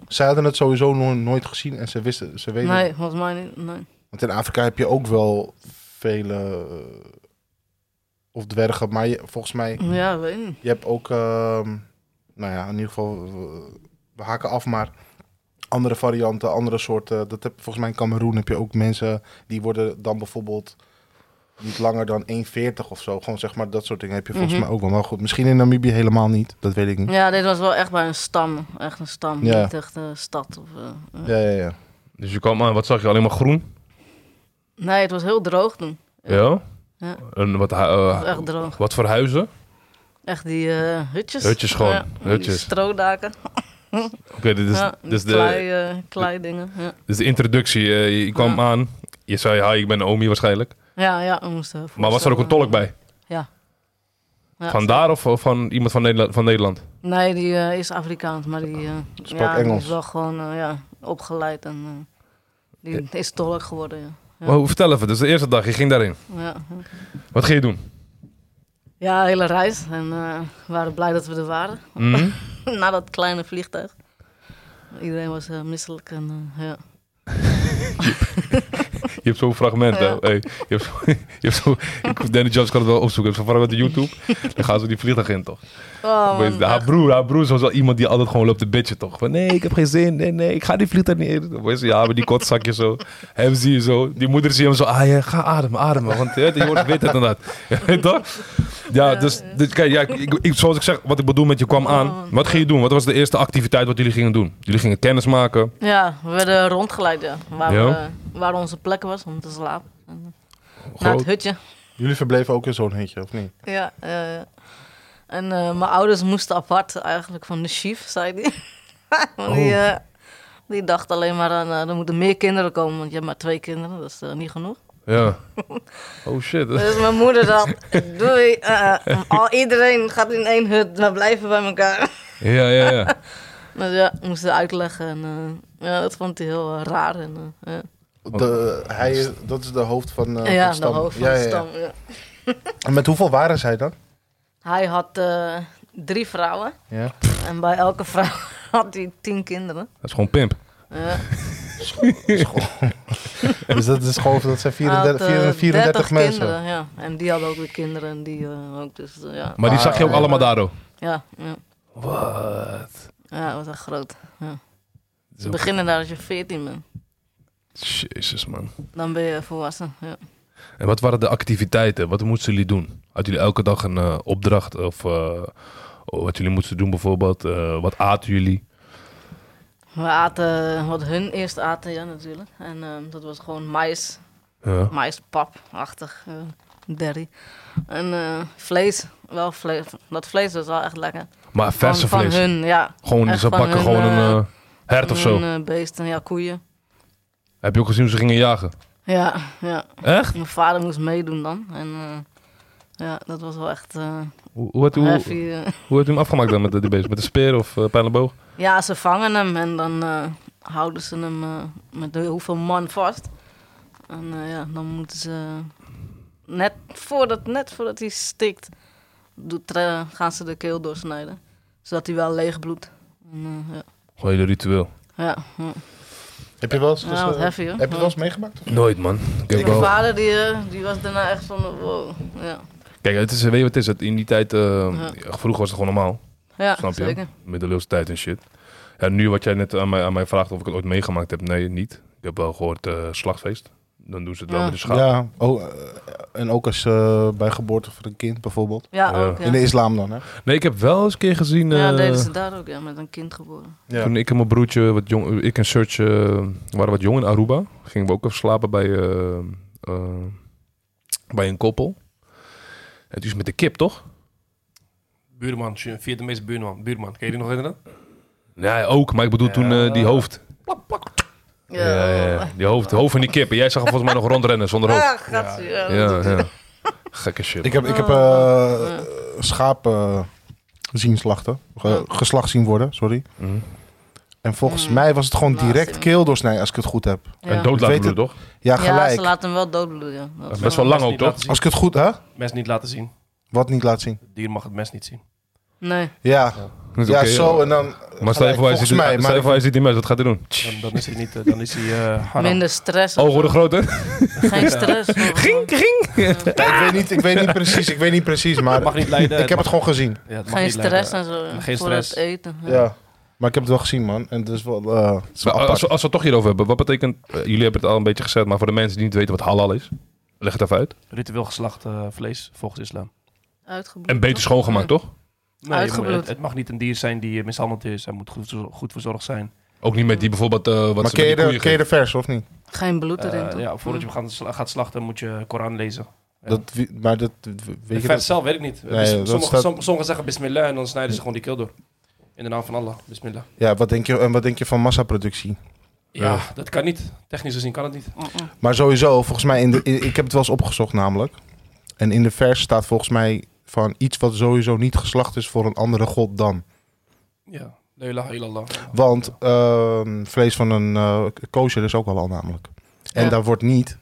Zij hadden het sowieso nog nooit gezien en ze wisten... Ze weten
Nee, volgens mij niet, nee.
Want in Afrika heb je ook wel vele... eh, Of dwergen, maar je, volgens mij...
Ja, weet niet.
Je hebt ook... ehm, nou ja, in ieder geval... eh, We haken af, maar... Andere varianten, andere soorten. Dat heb, volgens mij in Cameroen heb je ook mensen... Die worden dan bijvoorbeeld... Niet langer dan 1,40 of zo. Gewoon zeg maar dat soort dingen heb je volgens
Mhm.
mij ook wel. Maar goed, misschien in Namibië helemaal niet. Dat weet ik niet.
Ja, dit was wel echt bij een stam. Echt een stam,
Ja.
niet echt een stad. Of, eh, eh.
Ja, ja, ja.
dus je kwam aan, wat zag je, alleen maar groen?
Nee, het was heel droog toen. Ja.
Ja?
Ja.
En wat, hu- eh,
Het was echt droog.
wat voor huizen?
Echt die eh hutjes.
Hutjes gewoon,
die
hutjes.
stroodaken.
Oké, dit, is,
ja,
dit is
klei,
de,
eh, klei dingen. Ja.
dit is Dus de introductie. eh, je- je kwam
Ja.
aan, je zei, hi, ik ben Omi waarschijnlijk.
ja, ja, we moesten
Maar was er ook een tolk bij?
Ja.
Van daar of of van iemand van Nederland? Van Nederland?
Nee, die eh, is Afrikaans, maar die, eh,
Sprak
ja, die
Engels.
is wel gewoon eh, ja, opgeleid en eh, die is tolk geworden. Ja. Ja.
Oh, vertel even, dus de eerste dag, je ging daarin.
Ja.
Wat ging je doen?
Ja, hele reis. En eh, we waren blij dat we er waren.
Mhm.
Na dat kleine vliegtuig. Iedereen was eh, misselijk. En, eh, ja.
Je hebt zo'n fragment, hè?
Ja.
Hey, je hebt zo, je hebt zo, ik- Danny Jones kan het wel opzoeken. Je hebt zo'n fragment op YouTube. Dan gaan ze die vliegtuig in, toch?
Oh, man,
Opeens, haar,
echt.
broer, haar broer is wel iemand die altijd gewoon loopt te bitchen, toch? Van, nee, ik heb geen zin. Nee, nee, ik ga die vliegtuig niet in. Opeens, ja, met die kotzakje zo. Hem zie je zo. Die moeder zie hem zo. Ah, ja, ga ademen, ademen. Want hè, je wordt wit en dat. Ja, weet je toch? Ja, dus, dus kijk, ja, ik, ik- zoals ik zeg, wat ik bedoel met je kwam aan. Wat ging je doen? Wat was de eerste activiteit wat jullie gingen doen? Jullie gingen kennis maken.
Ja, we werden rondgeleid ja, waar,
Ja.
we- eh, waar onze plek was om te slapen. En, eh, naar het hutje.
Jullie verbleven ook in zo'n hutje, of niet?
Ja, ja, ja. En eh, mijn ouders moesten apart eigenlijk van de chief, zei die. Want die,
Oh.
eh, die dacht alleen maar aan, eh, er moeten meer kinderen komen, want je hebt maar twee kinderen, dat is eh, niet genoeg.
Ja. Oh shit.
Dus mijn moeder dacht, doei, eh, eh, al iedereen gaat in één hut, we blijven bij elkaar.
Ja, ja, ja.
Dus ja, ik moest ze uitleggen en eh, ja, dat vond hij heel eh, raar. En, eh, ja.
De, hij, is- dat is de hoofd van, eh,
ja,
van
de
stam.
hoofd van
Ja,
de
ja, ja.
stam. ja.
En met hoeveel waren zij dan?
Hij had eh, drie vrouwen
Ja.
en bij elke vrouw had hij tien kinderen.
Dat is gewoon pimp.
Ja.
dus dat is gewoon dat zijn
Hij had,
34,
eh,
34, 34 mensen.
kinderen, ja. En die hadden ook weer kinderen en die eh, ook. Dus eh, ja.
Maar die
Ah,
zag je ook
ja.
allemaal daar, hoor.
ja, ja.
Wat?
Ja, dat was echt groot. Ze beginnen daar als je 14 bent.
Jezus, man.
Dan ben je volwassen. Ja.
En wat waren de activiteiten? Wat moesten jullie doen? Hadden jullie elke dag een eh, opdracht? Of eh, wat jullie moesten doen bijvoorbeeld? Eh, wat aten jullie?
We aten wat hun eerst aten, ja, natuurlijk. En ehm, dat was gewoon mais,
Ja.
maispap-achtig, eh derry. En eh, vlees, wel vlees. Dat vlees was wel echt lekker.
Maar verse
van,
vlees?
Van hun, ja.
gewoon,
echt
ze
van
bakken
hun,
gewoon een
eh,
eh, hert of zo.
Een eh, beest en ja, koeien.
Heb je ook gezien hoe ze gingen jagen?
Ja, ja.
Echt?
Mijn vader moest meedoen dan. En eh, ja, dat was wel echt eh
Hoe, hoe, had, hoe,
heavy.
hoe
eh.
had u hem afgemaakt dan met de, die beest? Met een speer of eh pijlenboog?
Ja, ze vangen hem en dan eh, houden ze hem eh, met hoeveel man vast. En eh, ja, dan moeten ze... Net voordat, net voordat hij stikt, doet, eh, gaan ze de keel doorsnijden. Zodat hij wel leeg bloedt. En, eh, ja.
Gewoon hele ritueel.
Ja, ja.
Heb je wel eens,
Ja,
dus,
wat
eh,
heavy, hoor.
heb je wel eens meegemaakt?
Nooit, man. Ik heb
Mijn
wel-
vader die, eh, die was daarna echt van, wow. Ja,
Kijk, het is, weet je wat het is? Het- In die tijd, eh,
Ja.
vroeger was het gewoon normaal.
ja
Snap je?
zeker.
middeleeuwse tijd en shit. Ja, nu wat jij net aan mij, aan mij vraagt of ik het ooit meegemaakt heb, nee, niet. Ik heb wel gehoord eh, slagfeest. Dan doen ze het wel
Ja.
met de schaap.
Ja, oh, eh, en ook als eh, bij geboorte van een kind bijvoorbeeld.
Ja,
Ja.
ook. Ja.
In de islam dan, hè?
Nee, ik heb wel eens een keer gezien...
ja,
eh,
deden ze daar ook, ja, met een kind geboren.
Toen ik en mijn broertje, wat jong, ik en Serge eh, waren wat jong in Aruba. Gingen we ook even slapen bij, eh, eh, bij een koppel. Het is met de kip, toch?
Buurman, Vietnamese buurman. Buurman, ken je die nog herinneren?
Nee, ook. Maar ik bedoel toen eh, die hoofd. Ja, ja, ja. Die hoofd, hoofd van die kip. En jij zag hem volgens mij nog rondrennen zonder hoofd.
Ah, gatsie, ja.
Ja, ja. Gekke shit.
Ik heb, ik
Oh,
heb eh, schapen zien slachten. Ge- geslacht zien worden, sorry.
Mhm.
En volgens mij was het gewoon
Laatste.
direct keel doorsnijden, als ik het goed heb.
En dood
Ik
laten
weet
bloeden, toch?
Ja,
Ja,
gelijk.
ze laten hem wel doodbloeden. ja. Dat is
Best wel lang
Mes
ook,
niet
toch?
laten zien.
als ik het goed... Hè?
Mes niet laten zien.
Wat niet laat zien?
Het dier mag het mes niet zien.
Nee,
Ja,
Dat is
ja
oké,
zo
hoor.
en dan...
Maar
gelijk,
stel je voor, hij
volgens
ziet, mij,
mij, maar
voor, hij ziet die mes, wat gaat hij doen? Oh,
Dan, dan is hij niet... eh, dan is hij eh haram.
minder stress. of
Ogen worden
zo.
groter.
Geen stress. Ging,
Ja, ik, weet niet, ik weet niet precies, ik weet niet precies, maar
Het mag niet leiden.
ik heb
eh,
mag-
het gewoon gezien.
ja, het mag
Geen
niet
stress
leiden.
en zo. ja,
Geen
voor
stress.
het eten. ja.
Ja. Maar ik heb het wel gezien, man. En het is wel... eh, het is wel apart.
Als we, als we het toch hierover hebben, wat betekent... eh, jullie hebben het al een beetje gezegd, maar voor de mensen die niet weten wat halal is... Leg het even uit.
Ritueel geslacht eh, vlees, volgens islam.
Uitgebloed.
En beter schoongemaakt, toch?
je moet-
Uitgebloed.
het, het mag niet een dier zijn die eh, mishandeld is. Hij moet goed, verzor- goed verzorgd zijn.
Ook niet met die bijvoorbeeld... eh, wat
maar
ze
ken
met die
je, de,
koeien
ken je
geven.
de vers, of niet?
Geen bloed
Eh,
erin, toch?
ja, voordat je hem gaat, sla- gaat slachten moet je Koran lezen. Ja.
Dat, wie- maar dat... Weet
Het
je
vers
dat?
zelf weet ik niet.
Nee,
Bis-
dat
sommigen,
staat-
som- sommigen zeggen bismillah en dan snijden ze gewoon die keel door. In de naam van Allah, bismillah.
Ja, wat denk je, en wat denk je van massaproductie?
Ja,
Ja.
dat kan niet. Technisch gezien kan het niet.
Mm,
Mm-mm.
Maar sowieso, volgens mij, in de, in- ik heb het wel eens opgezocht namelijk. En in de vers staat volgens mij van iets wat sowieso niet geslacht is voor een andere god dan.
Ja, la ilaha illallah.
Want ehm, vlees van een eh kosher is ook halal namelijk. En
Ja.
daar wordt niet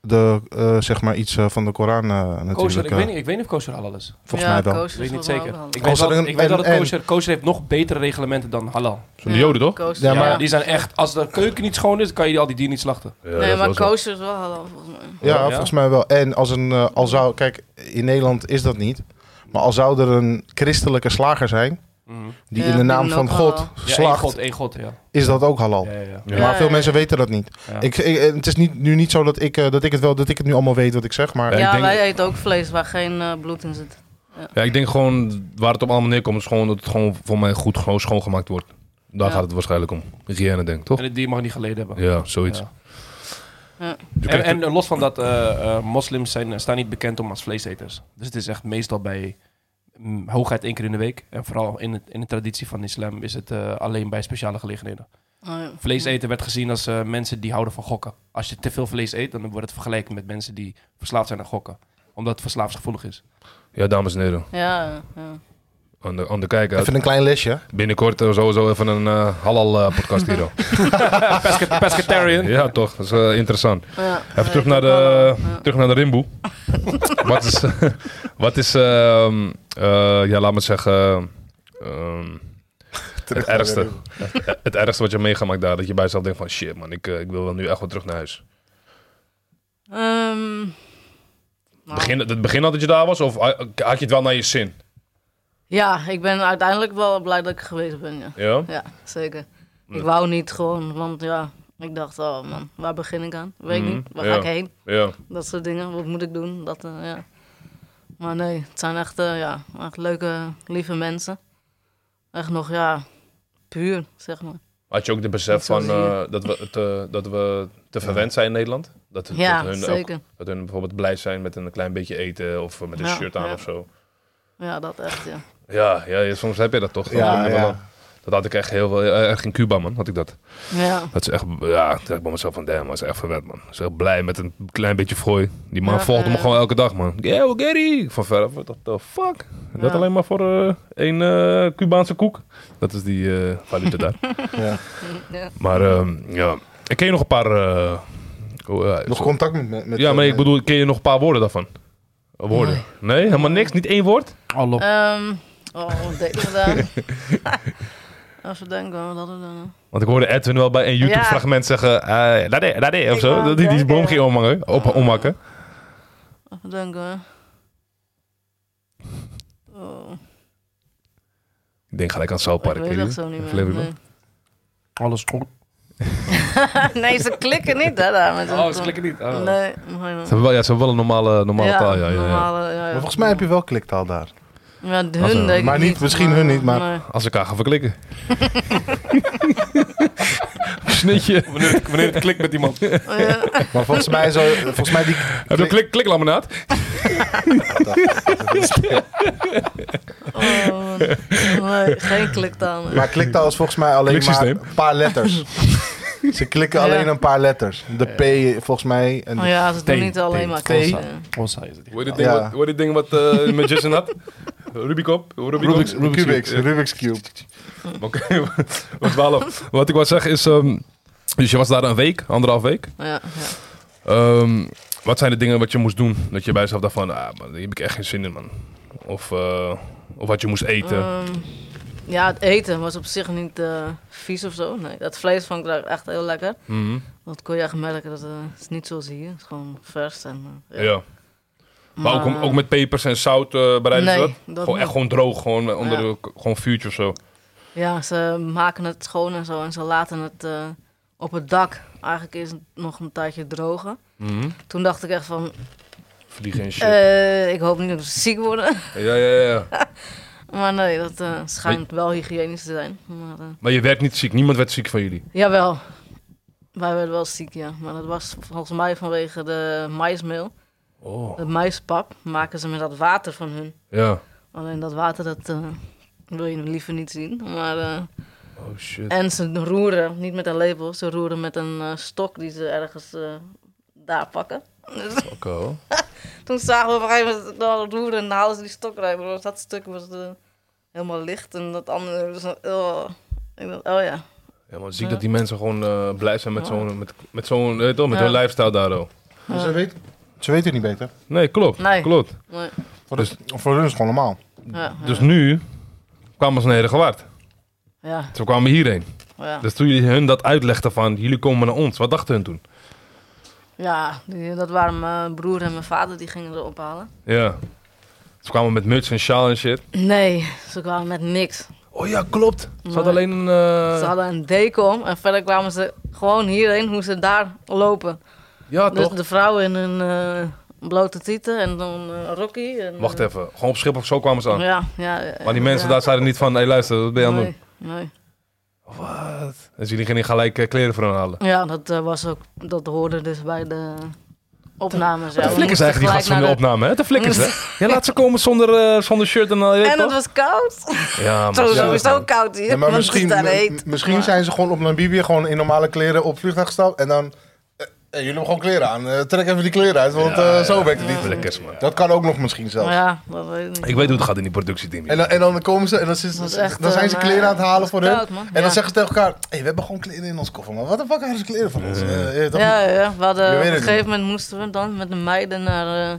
de, eh, zeg maar iets eh, van de Koran eh, natuurlijk.
Kosher, ik
eh,
weet, niet, ik weet niet of kosher halal is.
Volgens mij wel.
Ik weet niet zeker. Ik weet,
Kosher
wel,
en-
ik weet wel dat
en-
kosher, kosher heeft nog betere reglementen dan halal.
Zo'n diode, toch?
Ja,
ja,
Ja,
maar-
die zijn echt... Als de keuken niet schoon is, kan je al die dieren niet slachten.
Ja, dat
nee,
is
maar
wel zo.
kosher is wel halal volgens mij.
Ja,
Ja.
volgens mij wel. En als een, eh, al zou, kijk, in Nederland is dat niet. Maar al zou er een christelijke slager zijn, die
Ja,
in de
die
naam
doen
van
ook
God
halal.
Ja, één
slacht, Oh.
god, één god, ja.
is dat ook halal.
Ja, ja, ja.
Ja.
Maar
Ja,
veel
ja,
mensen weten dat niet.
Ja.
Ik, ik- eh, het is niet, nu niet zo dat ik, eh, dat ik het wel, dat ik het nu allemaal weet wat ik zeg, maar...
Ja, ik
Ja,
denk-
wij eten ook vlees waar geen eh, bloed in zit.
Ja, ik denk gewoon waar het op allemaal neerkomt, is gewoon dat het gewoon voor mij goed gewoon schoongemaakt wordt. Daar
Ja.
gaat het waarschijnlijk om. Hygiëne, denk ik, toch?
En het dier mag niet geleden hebben.
Ja, zoiets.
Ja.
Ja.
Dus
En,
kijk,
en los van dat, eh, eh, moslims zijn, staan niet bekend om als vleeseters. Dus het is echt meestal bij mm, hoogheid één keer in de week. En vooral in, het, in de traditie van de islam is het eh, alleen bij speciale gelegenheden.
Oh, ja.
Vlees eten werd gezien als eh, mensen die houden van gokken. Als je te veel vlees eet, dan wordt het vergeleken met mensen die verslaafd zijn aan gokken. Omdat het verslaafsgevoelig is.
ja, dames en heren,
Ja, ja.
aan de, aan de kijker.
Even een klein lesje.
Binnenkort eh, sowieso even een eh, halal eh, podcast hier. hoor.
Pesca- pescatarian.
ja, toch? Dat is eh, interessant.
Ja,
Even
ja,
terug
ik
naar
ook
de,
wel, eh, ja.
terug naar de Rimboe. wat is, wat is ehm, eh, ja, laat me zeggen, ehm, het ergste. het ergste wat je meegemaakt daar, dat je bij jezelf denkt van shit man, ik, eh, ik wil wel nu echt wel terug naar huis.
Ehm, nou,
Begin, het begin al dat je daar was, of had had je het wel naar je zin?
Ja, ik ben uiteindelijk wel blij dat ik er geweest ben, ja.
Ja?
Ja, zeker.
Ja.
Ik wou niet gewoon, want ja, ik dacht, oh man, waar begin ik aan? Weet ik
Mhm,
niet, waar
ja.
ga ik heen?
Ja.
Dat soort dingen, wat moet ik doen? Dat, eh, ja. Maar nee, het zijn echt, eh, ja, echt leuke, lieve mensen. Echt nog, ja, puur, zeg maar.
Had je ook de besef
Dat zal
van
zie je.
eh, dat, we te, dat we te verwend zijn in Nederland? Dat, dat,
ja,
hun ook-
zeker.
dat hun bijvoorbeeld blij zijn met een klein beetje eten of met een
Ja,
shirt aan
ja.
of zo.
Ja, dat echt, ja.
Ja, ja, ja, soms heb je dat toch? Dan kom
Ja,
je wel aan.
ja.
Dat had ik echt heel veel, eh, echt in Cuba man, had ik dat.
Ja,
Dat is echt, ja, ik dacht bij mezelf van damn, man, is echt verwend man. Is echt blij met een klein beetje fooi. Die man
Ja,
volgt hem
ja.
gewoon elke dag man. Yeah, we get it. Van veraf, what the fuck? En Dat
Ja.
alleen maar voor eh één eh, Cubaanse koek. Dat is die eh, valuta daar.
Ja.
ja.
Maar ehm, ja, ik ken je nog een paar... eh, oh, ja,
Nog
zo-
contact met... met eh, met-
ja, maar ik bedoel, ken je nog een paar woorden daarvan? Woorden? Nee, helemaal niks? Niet één woord?
Allop.
Ehm, oh, wat deed ik dan? Even denken, wat hadden we dan?
Want ik hoorde Edwin wel bij een YouTube-fragment zeggen... eh dade, dade, of
Ik
zo.
wou Oh.
Dat hij die
zeggen.
boom ging omhangen, op, omhakken.
Even denken. Oh,
Ik denk gelijk aan South
ik
Park.
weet
weet
het
je?
zo niet meer.
Flavorman.
Nee.
Alles goed.
nee, ze klikken niet, hè, daar. Met hun
Oh, ze
tong.
klikken niet.
Nee,
Oh.
nee, nee.
Ze hebben wel, ja, ze hebben wel een normale, normale taal, ja, ja, ja.
normale, ja, ja.
Maar volgens mij heb je wel kliktaal daar.
Ja, hun
Als een-
denk ik
maar niet, misschien hun niet, maar-
nee.
Als ze elkaar gaan verklikken. Snitje.
Wanneer, het, wanneer het klikt met iemand.
Oh, Ja,
Maar volgens mij, zo, volgens mij die...
Heb je klik, kliklaminaat?
oh, nee, geen kliktaal. nee.
Maar kliktaal is volgens mij alleen maar
Kliksysteem.
een paar letters. Ze klikken
Ja.
alleen een paar letters. De P volgens mij en de
Oh ja, ze doen niet alleen
T,
maar
T.
klikken.
Ons is het.
Hoe heet
Ja.
het ding
Ja.
wat- hoe heet het ding wat eh, met Jason had? Rubikop? Rubikop?
Rubik's, Rubik's, Rubik's,
Cube.
Cube.
Oké, wat dwalen. Wat ik wil zeggen is... ehm, dus je was daar een week, anderhalf week.
Ja, ja.
Ehm, wat zijn de dingen wat je moest doen? Dat je bij jezelf dacht van... Ah, man, hier heb ik echt geen zin in, man. Of, eh, of wat je moest eten.
Ehm, ja, het eten was op zich niet eh, vies of zo. Nee, dat vlees vond ik daar echt heel lekker.
Mhm.
Dat kon je echt merken, dat eh, het is niet zoals hier. Het is gewoon vers en... eh,
ja. Maar ook, ook met pepers en zout eh bereiden ze
Nee,
dat?
dat
Gewoon,
niet.
echt gewoon droog, gewoon onder
Ja.
de, gewoon vuurtje of zo.
Ja, ze maken het schoon en zo en ze laten het eh, op het dak eigenlijk eerst nog een tijdje drogen. Toen dacht ik echt van,
Vliegen en Mhm. shit.
eh, ik hoop niet dat ze ziek worden.
ja, ja, ja.
maar nee, dat eh, schijnt wel hygiënisch te zijn. Maar, eh,
Maar je werd niet ziek. Niemand werd ziek van jullie.
jawel, wij werden wel ziek, ja. Maar dat was volgens mij vanwege de maismeel.
Oh.
De maispap maken ze met dat water van hun.
Ja.
Alleen dat water, dat eh, wil je liever niet zien. Maar... eh,
Oh shit.
En ze roeren, niet met een lepel, ze roeren met een eh, stok die ze ergens eh, daar pakken. Dus
Oké. hoor.
toen zagen we op een gegeven moment dat roeren en dan haalden ze die stok eruit. Maar dat stuk was eh, helemaal licht en dat andere was dan, oh. Ik dacht, oh ja.
Ja, maar ziek
Ja.
dat die mensen gewoon eh, blij zijn met
Ja.
zo'n met, met, zo'n, eh, toch, met
Ja.
hun lifestyle daar. hoor.
Dus Ze, weet, ze weten het niet beter.
Nee, klopt.
Nee.
klopt.
Nee.
Voor, dus, voor hun is het gewoon normaal.
Ja,
Dus nu kwamen ze naar Herengewaard.
ja,
Ze kwamen hierheen.
ja.
Dus toen jullie hun dat uitlegden van, jullie komen naar ons. Wat dachten hun toen?
ja die- dat waren mijn broer en mijn vader die gingen ze ophalen.
Ja. Ze kwamen met muts en sjaal en shit.
Nee, ze kwamen met niks.
Oh ja, klopt. Ze hadden
Nee.
alleen een... eh,
Ze hadden een deken om en verder kwamen ze gewoon hierheen hoe ze daar lopen.
Ja,
Dus
toch?
de vrouwen in hun eh, blote tieten en dan eh Rocky. En,
Wacht even. Gewoon op Schiphol, zo kwamen ze aan.
Ja, ja. eh,
Maar die mensen
ja.
daar zeiden niet van, hé hey, luister, wat ben je aan het
nee, nee.
doen? Wat? Dus jullie gingen gelijk eh, kleren voor hen halen.
Ja, dat, eh, was ook, dat hoorde dus bij de opnames. Ja,
de
we
flikkers
moesten
eigenlijk die
gelijk
gast van de
naar de-
opname, hè? De flikkers, hè? Ja, laat ze komen zonder, eh, zonder shirt en al. je weet
En het
toch?
was koud.
Ja,
Zo
maar...
Ja,
sowieso koud hier.
Ja, maar
want
misschien,
het is daar
m-
heet.
misschien
Maar-
zijn ze gewoon op Namibië gewoon in normale kleren op het vliegtuig gestapt. En dan, eh, eh, jullie hebben gewoon kleren aan. Eh, trek even die kleren uit, want eh, zo werkt het niet.
Flikkers, man.
Dat kan ook nog misschien zelfs.
Ja, dat weet ik niet.
Ik weet hoe het gaat in die productieteam.
En, dan, en dan komen ze en dan, zitten
Dat is
ze-
echt,
dan zijn ze
eh,
kleren aan het halen voor hun.
koud, man.
en dan
Ja.
zeggen ze tegen elkaar: hey, we hebben gewoon kleren in ons koffer, man. Wat de fuck hebben ze kleren van ons? Eh, eh, dat-
Ja, ja, we
Je
hadden, op
weet
een
het
gegeven moment moesten we dan met de meiden naar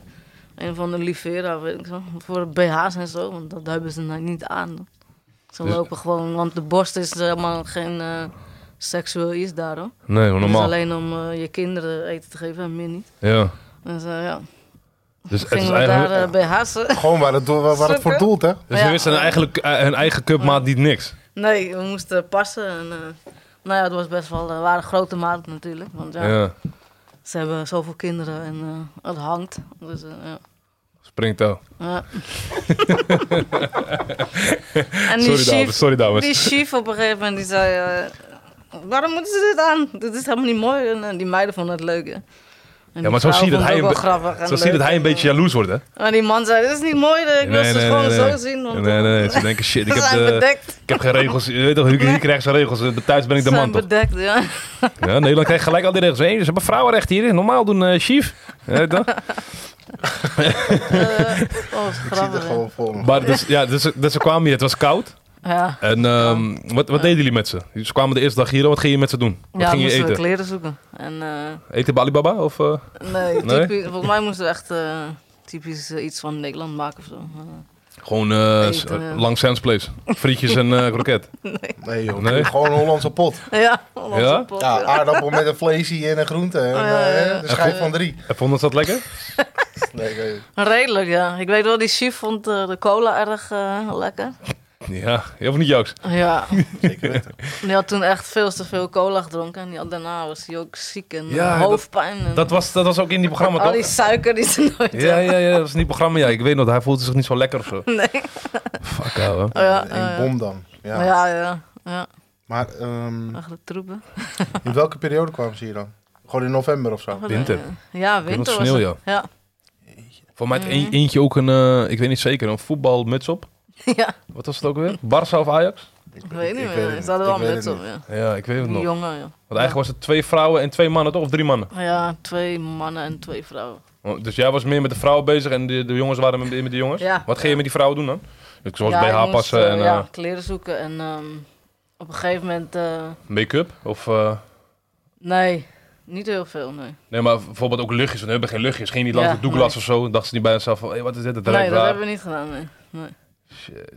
eh, een van de Livera, weet ik zo, voor BH's en zo, want dat hebben ze nou niet aan. Ze
Dus-
lopen gewoon, want de borst is helemaal geen eh, seksueel iets daar hoor.
Nee, hoe
Het is
normaal.
alleen om eh, je kinderen eten te geven en meer niet.
Ja.
Dus eh, ja,
Dus het is
gingen we daar
eigenlijk...
eh, BH's. eh.
Gewoon waar het, do- waar, waar het voor
Sukken.
doelt, hè?
Dus nu
Ja.
is het eigenlijk eh, hun eigen cupmaat niet niks.
Nee, we moesten passen en eh, nou ja, het was best wel, eh, waren grote maat natuurlijk, want ja,
Ja.
ze hebben zoveel kinderen en eh, het hangt. Dus eh, ja.
Springtouw.
Ja. en die
Sorry dames,
chief,
sorry dames.
die chief op een gegeven moment die zei: eh, Waarom moeten ze dit aan? Dit is helemaal niet mooi. En eh, die meiden vonden het leuk. Hè. En die
maar zo
vrouw
zie je dat
vond
hij
het ook
een
wel grappig en
Zo zie je
leuk. eh,
dat hij een beetje jaloers wordt, hè?
Maar die man zei: Dit is niet mooi. eh, Ik wil ze gewoon zo zien. Want
Nee, eh, nee, nee. Ze denken, shit, ik
Ze
heb,
zijn
de,
bedekt.
ik heb geen regels. Je weet toch, hier, hier krijgen ze regels. Eh, Thuis ben ik
Ze
de man,
zijn
toch?
bedekt, ja.
Ja, Nederland krijgt gelijk al die regels. Hé, ze hebben vrouwenrecht hier. Normaal doen, eh, chief. Je weet toch?
Eh, oh,
Ik zie het
grappig.
er
hè.
gewoon voor me.
Maar dus, ja, dus, dus ze kwamen hier. Het was koud.
Ja,
En ehm, wat, wat deden jullie met ze? Ze kwamen de eerste dag hier. Wat ging je met ze doen? Wat
ja
ging je
moesten we
eten?
kleren zoeken. En, eh,
Eten bij Alibaba? Of, eh?
nee,
Nee?
typisch, volgens mij moesten we echt eh, typisch eh, iets van Nederland maken of zo. Eh,
Gewoon eh, s-
Eten, ja.
lang Sands Place. Frietjes en eh kroket.
Nee, joh.
Nee?
Gewoon een Hollandse pot.
Ja, Hollandse
Ja?
pot,
Ja, aardappel met een vleesje en een groente. En,
Oh, ja,
eh,
ja.
Een schijf van drie.
En vonden ze dat lekker?
Nee, ik weet het.
Redelijk, ja. Ik weet wel, die chef vond eh, de cola erg eh, lekker.
Ja, of niet Jooks?
Ja,
Zeker weten.
die had toen echt veel te veel cola gedronken. En die had, daarna was hij ook ziek en
Ja,
eh,
dat-
hoofdpijn. en
Dat was, dat was ook in die programma,
al die
toch?
suiker die ze nooit
Ja, ja, ja, dat was in die programma. Ja, ik weet nog, hij voelde zich niet zo lekker of zo.
Nee.
Fuck, ouwe.
Oh, Ja,
Een bom dan. Ja.
ja, ja, ja, ja.
Maar ehm,
Echt de troepen.
in welke periode kwamen ze hier dan? Gewoon in november of zo?
Winter.
eh, Ja,
weet nog
winter was
sneeuw,
het. Ja.
Voor
Mm.
mij had een- eentje ook een, eh, ik weet niet zeker, een voetbalmuts op.
ja,
Wat was het ook weer? Barça of Ajax?
ik weet niet
ik weet het
meer.
niet.
Ze hadden wel
Ik weet
een
het
muts op, ja.
Ja, ik weet het
Die
nog.
jongen, ja.
Want eigenlijk was het twee vrouwen en twee mannen, toch? Of drie mannen?
Ja, twee mannen en twee vrouwen.
Want- Dus jij was meer met de vrouwen bezig en de, de jongens waren met, met de jongens?
Ja.
Wat ging je met die vrouwen doen dan? Dus zoals
ja, ik
BH
moest,
passen
eh,
en
ja,
eh,
kleren zoeken. En ehm, op een gegeven moment... eh,
make-up? Of, eh,
nee, niet heel veel, nee.
nee, maar bijvoorbeeld ook luchtjes. Want we hebben geen luchtjes. Ging je niet langs
Ja,
de Douglas of zo? Dan dacht ze niet bij zichzelf van, hey, wat is dit? Dat
Nee,
ruikt
dat
raar.
hebben we niet gedaan, nee. nee.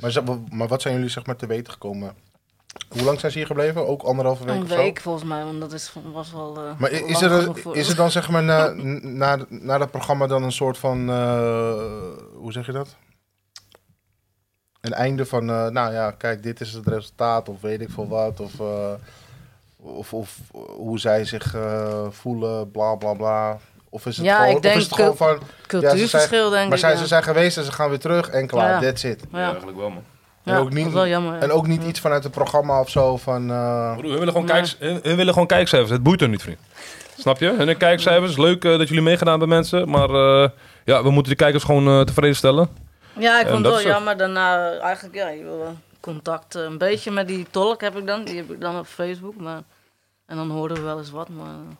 Maar, ze- maar wat zijn jullie zeg maar te weten gekomen? Hoe lang zijn ze hier gebleven? Ook anderhalve week
Een
of zo?
week volgens mij, want dat is, was wel. eh,
Maar i- is
lang
er,
genoeg
een-
voor-
is er dan zeg maar na, na, na dat programma dan een soort van, eh, hoe zeg je dat? Een einde van, eh, nou ja, kijk, dit is het resultaat of weet ik veel wat. Of, eh, of, of hoe zij zich eh, voelen, bla bla bla. Of is het
Ja,
gewoon,
ik
of
denk
is het gewoon
cul-
van,
Cultuurverschil, denk ik.
maar zij,
ja.
ze zijn geweest en ze gaan weer terug en klaar,
Ja.
that's it.
Ja,
Ja.
eigenlijk wel man.
En
Ja,
ook niet-
dat is wel jammer. ja.
En ook niet iets vanuit het programma of zo van... eh,
Broer, hun willen gewoon,
Nee.
kijks, hun, hun willen gewoon kijkcijfers. Het boeit hun niet, vriend. Snap je? Hun kijkcijfers. Leuk eh, dat jullie meegedaan bij mensen. Maar eh, ja, we moeten de kijkers gewoon eh, tevreden stellen.
Ja, ik
En
vond
dat
het wel
is het.
jammer. Daarna, eh, eigenlijk, ja, je wil wel contact eh, een beetje met die tolk heb ik dan. Die heb ik dan op Facebook. Maar, en dan horen we wel eens wat, maar. eh,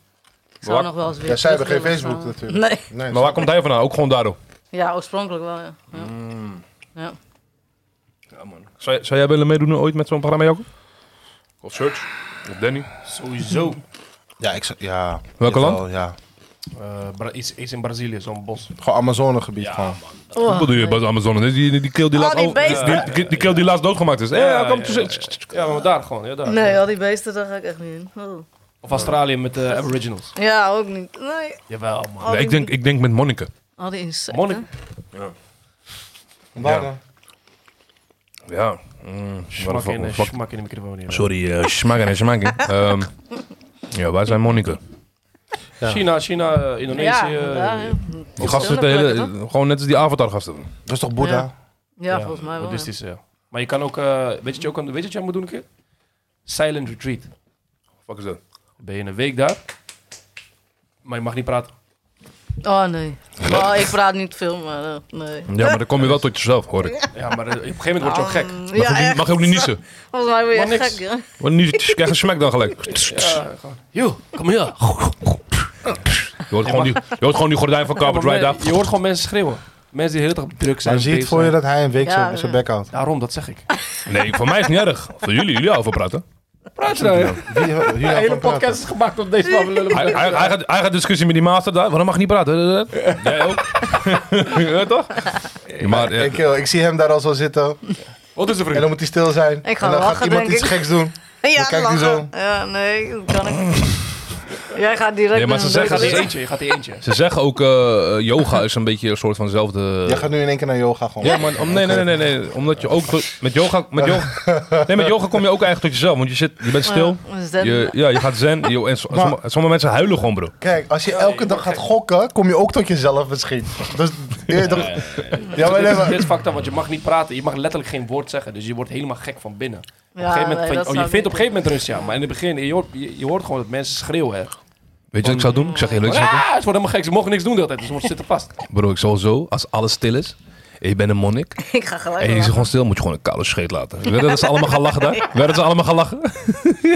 Ik zou
waar-
nog wel eens weer.
Ja, zij hebben
terug
geen
willen
Facebook
gaan.
natuurlijk.
Nee.
nee,
Maar waar komt hij vandaan? Ook gewoon daardoor.
Ja, oorspronkelijk wel, ja. Ja.
Mm.
ja.
Zou, jij- zou jij willen meedoen ooit met zo'n programma, Joko? Of Search? Of Danny?
Sowieso.
Ja, ik zou- ja.
Welke
Jawel, Ja.
eh, Bra- iets, iets in Brazilië, zo'n bos.
Gewoon Amazonegebied gewoon.
Oh.
Wat bedoel je bij de Amazone? Die, die, die kill die
Al
laatst,
die
over- die,
beesten.
die- die kill die laatst doodgemaakt is. Eh,
Ja,
ja, kom
ja,
toe-
ja, Ja, maar daar gewoon. Ja, daar.
Nee, al die beesten, daar ga ik echt niet in. Oh.
Of Australië met de Aboriginals.
Ja, ook niet. Nee.
Jawel, man.
Al
Nee,
die,
ik, denk, ik denk met Monniken.
al die insecten.
Monnik.
Waar
Ja.
dan?
Ja. Mm,
Smak
wat-
in, de-
wat-
smak in de microfoon. ja.
sorry, eh smaken en smaken. Ehm, ja, wij zijn Monniken.
Ja.
China, China, eh,
Ja,
Indonesië. eh.
daar, ja.
Die gasten zitten hele-
Verschillende plekken,
gewoon net als die Avatar gasten.
Dat is toch Boeddha?
Ja, volgens mij wel. ja.
Boeddhistisch, ja. Maar je kan ook, eh, weet je wat je ook kan- weet je wat jij moet doen een keer? Silent retreat.
Fuck is dat?
Ben je een week daar, maar je mag niet praten.
Oh nee. Oh, ik praat niet veel, maar eh, nee.
Ja, maar dan kom je wel tot jezelf, hoor ik.
Ja, maar eh, op een gegeven moment word je ook gek.
Mm,
Mag,
ja,
je ook, niet-
echt.
mag je ook niet niezen.
Volgens mij
Mag
ben je
niks.
gek, ja.
Want nu krijg je smack dan gelijk.
Ja, gewoon, "Yo, kom hier.
Je hoort gewoon die, je hoort gewoon die gordijn van Carpet
Ja, maar
Ride
men-
af.
Je hoort gewoon mensen schreeuwen. Mensen die de hele dag druk zijn.
Dan zie je het
bezig
voor je
zijn.
dat hij een week
Ja,
zijn-
ja.
zijn bek houdt.
Daarom, dat zeg ik.
Nee, voor mij is het niet erg. Voor jullie, jullie over praten.
Praat je nou?
Wie- wie houdt
De
van
hele
praten?
podcast is gemaakt op deze tafel lullen.
Hij, hij, hij, gaat, hij gaat discussie met die master daar. Waarom mag ik niet praten? Jij ook? ja, toch? Maar, ja,
Ik, joh, ik zie hem daar al zo zitten.
Wat is de
En
vriend?
dan moet hij stil zijn.
Ik ga
en dan
lachen,
gaat iemand
denk
iets
ik.
geks doen.
Ja,
kijkt hij
lachen. Ja, nee, dat kan ik niet. Jij gaat direct
Nee, maar ze
naar
Je
zeggen-
gaat
ze
in
zeggen-
eentje, je gaat in eentje.
ze zeggen ook, eh, yoga is een beetje een soort van dezelfde...
Jij gaat nu in één keer naar yoga gewoon.
Ja, maar om, nee, nee, nee, nee, nee. Omdat je ook tot- met yoga, met yoga, nee, met yoga kom je ook eigenlijk tot jezelf. Want je, zit, je bent stil. Je, ja, je gaat zen. Je, en so-
Maar-
sommige, sommige mensen huilen gewoon, bro.
Kijk, als je elke dag gaat gokken, kom je ook tot jezelf misschien. Dus, ja, toch- ja, maar
Dus Dit
nee,
is,
maar-
dit is fucked up, want je mag niet praten. Je mag letterlijk geen woord zeggen. Dus je wordt helemaal gek van binnen.
Ja,
op een gegeven
nee,
moment, van-
dat
oh,
zou
je
ik
vindt op
niet
een gegeven moment rust, ja. Maar in het begin, je hoort, je, je hoort gewoon dat mensen schreeuwen. Hè.
Weet je wat ik zou doen? Ik zeg
Oh.
eerlijk, ik zou
Ah, ze worden helemaal gek. Ze mogen niks doen de hele tijd. dus Ze worden zitten vast.
doen? bro, ik zal zo, als alles stil is, en je bent een monnik,
doen. Ik ga gelijk
en je
Oh.
lachen.
zit gewoon stil, moet je gewoon een koude scheet laten. Weet je dat ze allemaal gaan lachen daar? Weet je dat ze allemaal gaan lachen?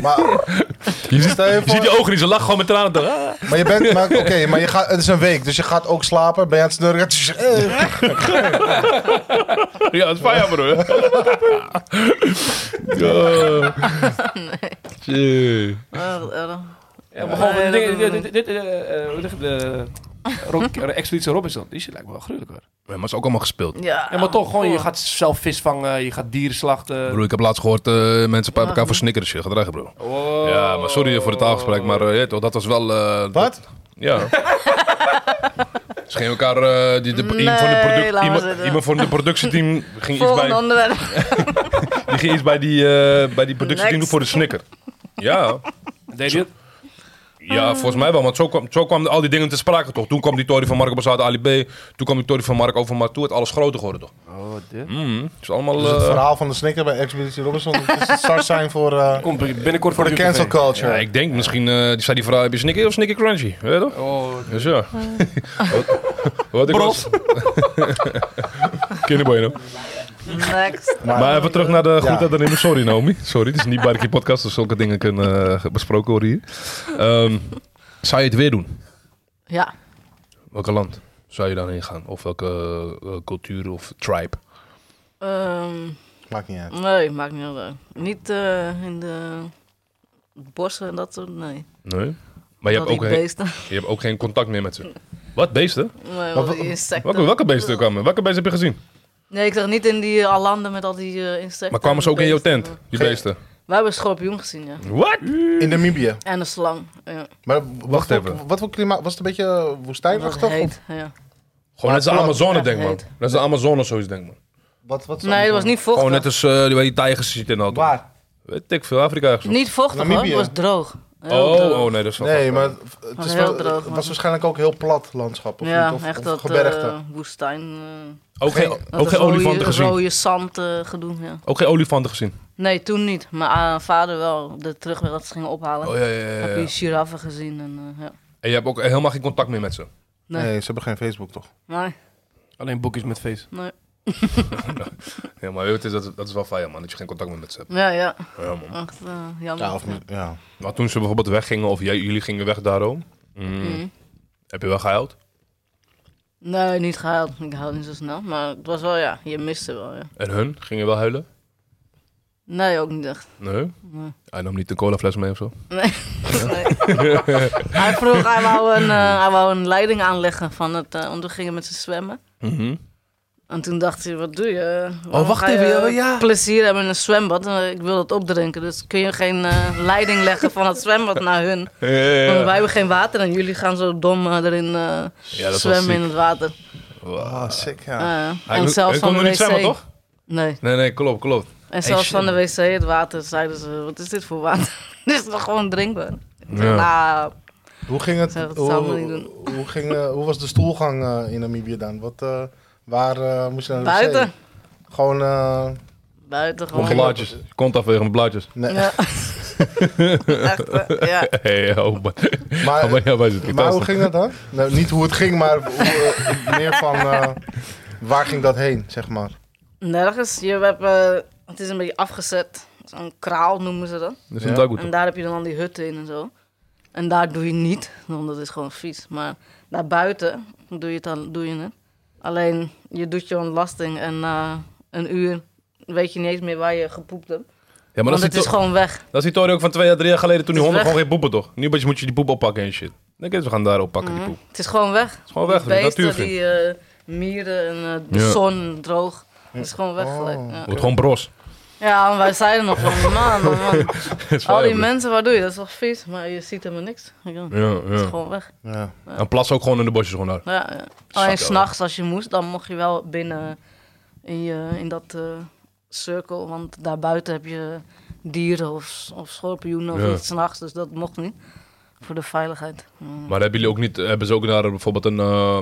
maar,
Je ziet,
Stel je
je
voor-
ziet die ogen niet, ze lachen gewoon met tranen. toch? Ah.
maar je bent, maar, oké, maar je gaat, het is een week, dus je gaat ook slapen, ben je aan het snurken. Eh,
Ja, dat is fijn, bro. Ja. Tjie.
Eh, wat erg.
Ja, maar
Nee,
gewoon, dit-
dat doen we
dit- dit- dit- eh, eh, hoe zeg je, de Rock- Expeditie Robinson, die shit lijkt me wel gruwelijk hoor.
Ja, maar het is ook allemaal gespeeld.
Ja,
Ja, maar toch, gewoon, je gaat zelf vis vangen, je gaat dieren slachten.
Bro, ik heb laatst gehoord, eh, mensen bij
Ah.
elkaar voor snickers. Shit, gedrag, bro.
Oh.
Ja, maar sorry voor het taalgesprek, maar eh, ja, toch, dat was wel... eh, dat-
Wat?
ja. Ze gingen elkaar... eh, die, de, iemand, van de
Nee,
produc-
laat maar
iemand,
zitten.
iemand van de productieteam ging iets
Volgende
bij,
onderwerp.
die ging iets bij die, eh bij die productieteam doen
Next.
voor de snicker. Ja,
Deed je het?
ja
Ah.
volgens mij wel, want zo kwam, zo kwamen al die dingen te sprake toch. Toen kwam die Tory van Mark Bazaar Ali B. Toen kwam die Tory van Mark over Martoe. Het is alles groter geworden toch.
Oh, dit.
Mm, het is allemaal...
Dus het
eh,
verhaal van de snikker bij Expeditie Robinson, het is het start zijn voor, eh,
Komt binnenkort
voor de cancel culture.
ja, ik denk misschien, eh, die zei die vrouw, heb je snicker of snicker crunchy? Weet je toch?
Oh, dit.
Dus ja. wat, wat ik was...
Bros.
Kinderboy, nou.
Next.
Maar even terug naar de
Ja.
groente dan Sorry, Naomi. Sorry, het is niet bij de podcast dat zulke dingen kunnen eh, besproken worden hier. Ehm, zou je het weer doen?
Ja,
Welke land zou je dan heen gaan? Of welke eh, cultuur of tribe?
ehm,
Maakt niet uit.
nee, maakt niet uit. Niet eh, in de bossen en dat soort, nee.
Nee. Maar je hebt,
Al Nou, die
ook geen,
beesten.
je hebt ook geen contact meer met ze. Wat beesten?
Nee, al
wa-
die insecten.
Welke, welke beesten kwamen? Welke beesten heb je gezien?
Nee, ik dacht niet in die eh, landen met al die eh, insecten.
Maar kwamen ze
en
ook in jouw
beesten.
tent, die
Geen-
beesten?
We hebben een schorpioen gezien, ja.
Wat?
In Namibië.
En een slang. Ja.
Maar wat
Wacht
voor-
even.
Wat voor klimaat? Was het een beetje eh,
Dat
woestijnachtig? of-
heet, ja.
Gewoon net als de Amazone,
echt
denk man.
heet.
Dat is de Amazone, zoiets, denk man.
Wat, wat is
Nee, het was niet vochtig.
Gewoon net als eh, die- waar die tijgers ziet en al.
Waar?
Weet ik veel, Afrika ergens.
Niet vochtig hoor,
Namibië.
het was droog. Heel
Oh,
droog.
oh, nee, dat is wel
Nee,
fucked up.
maar het
Was
is
heel
wel-
droog,
het was
man.
waarschijnlijk ook heel plat landschap. Of
ja,
niet? Of,
echt
of
dat
gebergte.
eh, woestijn. eh,
Ook geen,
dat
ook geen
rode-
olifanten gezien.
rode zand eh, gedoe, ja.
Ook geen olifanten gezien.
Nee, toen niet. Maar eh, vader wel, de terugweg dat ze gingen ophalen.
Oh ja, ja, ja,
Heb
ja.
je giraffen gezien en eh, ja.
En je hebt ook helemaal geen contact meer met ze.
nee.
Nee.
ze hebben geen Facebook toch?
Nee,
Alleen boekjes met face.
nee.
Ja, maar weet je, dat, is- dat is wel fijn, man. Dat je geen contact meer met ze hebt.
Ja, ja.
Ja, man.
Echt eh, jammer.
Ja, of, ja.
Maar toen ze bijvoorbeeld weggingen, of jij, jullie gingen weg daarom. mm,
Mhm.
Heb je wel gehuild?
Nee, niet gehaald. Ik haal niet zo snel. Maar het was wel, ja, je miste wel, ja.
En hun? Gingen wel huilen?
Nee, ook niet echt.
Nee?
Nee.
Hij nam niet een colafles mee of zo? Mhm.
Nee. Nee. hij vroeg, hij wou, een, eh, hij wou een leiding aanleggen van het, eh want we gingen met ze zwemmen. En toen dacht hij, wat doe je?
Oh,
Waarom
wacht
ga je eh,
even, ja, ja.
plezier hebben in een zwembad. En, eh, Ik wil dat opdrinken, dus kun je geen eh, leiding leggen van het zwembad naar hun. Want wij hebben geen water en jullie gaan zo dom eh, erin eh,
Ja, dat was
zwemmen in
ziek.
het water.
Ah, sick, ja.
Eh,
Hij
en
kon-
zelfs
hij
van
kon er
de wc.
niet zwemmen, toch?
Nee.
Nee, nee, klopt, klopt.
En zelfs
shit.
van de wc, het water, zeiden ze, wat is dit voor water? dit is toch gewoon drinkbaar? Ik zeg,
Ja.
nou,
Hoe ging het?
Zou- dat
hoe,
zou ik niet doen.
Hoe, ging, eh, hoe was de stoelgang eh, in Namibië dan? Wat, eh, waar eh, moest je naar de wc?
buiten.
Gewoon, eh,
Buiten gewoon.
ging
Blaadjes. Kont afwegen, blaadjes.
nee.
Ja. Echt, eh, ja.
Hey, oh, maar,
Maar,
maar ja, wij zitten
maar hoe
fantastisch.
ging dat dan? Nou, niet hoe het ging, maar hoe, eh, meer van eh, waar ging dat heen, zeg maar.
Nergens. Je hebt, eh, het is een beetje afgezet. Zo'n kraal noemen ze dat.
Dat is
Ja.
een dakgoed.
En daar heb je dan al die hutten in en zo. En daar doe je niet, want dat is gewoon vies. Maar naar buiten doe je het. Al, doe je het. Alleen, je doet je ontlasting en na een uur weet je niet eens meer waar je gepoept hebt.
Ja, maar
want
dat is,
het
die
is
to-
gewoon weg.
dat is die toren ook van twee jaar, drie jaar geleden toen die
Het is
honden
weg.
gewoon geen poepen, toch? Nu moet je- moet je die poep oppakken en shit. Dan kunnen ze gaan daar oppakken, die poep.
Mhm. Het is gewoon weg.
Het is gewoon weg,
Die
dat is
beesten,
natuurvriend.
die eh, mieren en eh, de
Ja.
zon, droog. Het is gewoon weg
Oh.
gelijk. Ja.
Wordt gewoon bros.
Ja, en wij zeiden nog van, man, man, man.
Het is
Al die
vijfelijk.
mensen, waar doe je? Dat is toch vies? Maar je ziet helemaal niks. Ja, Het
Ja,
is
ja.
gewoon weg.
Ja.
En plassen ook gewoon in de bosjes gewoon daar.
Ja, ja.
wel.
Alleen s'nachts als je moest, dan mocht je wel binnen in, je, in dat eh, cirkel. Want daarbuiten heb je dieren of, of schorpioenen of
Ja.
iets s'nachts. Dus dat mocht niet. Voor de veiligheid. Mm.
Maar hebben jullie ook niet, hebben ze ook daar bijvoorbeeld een, eh,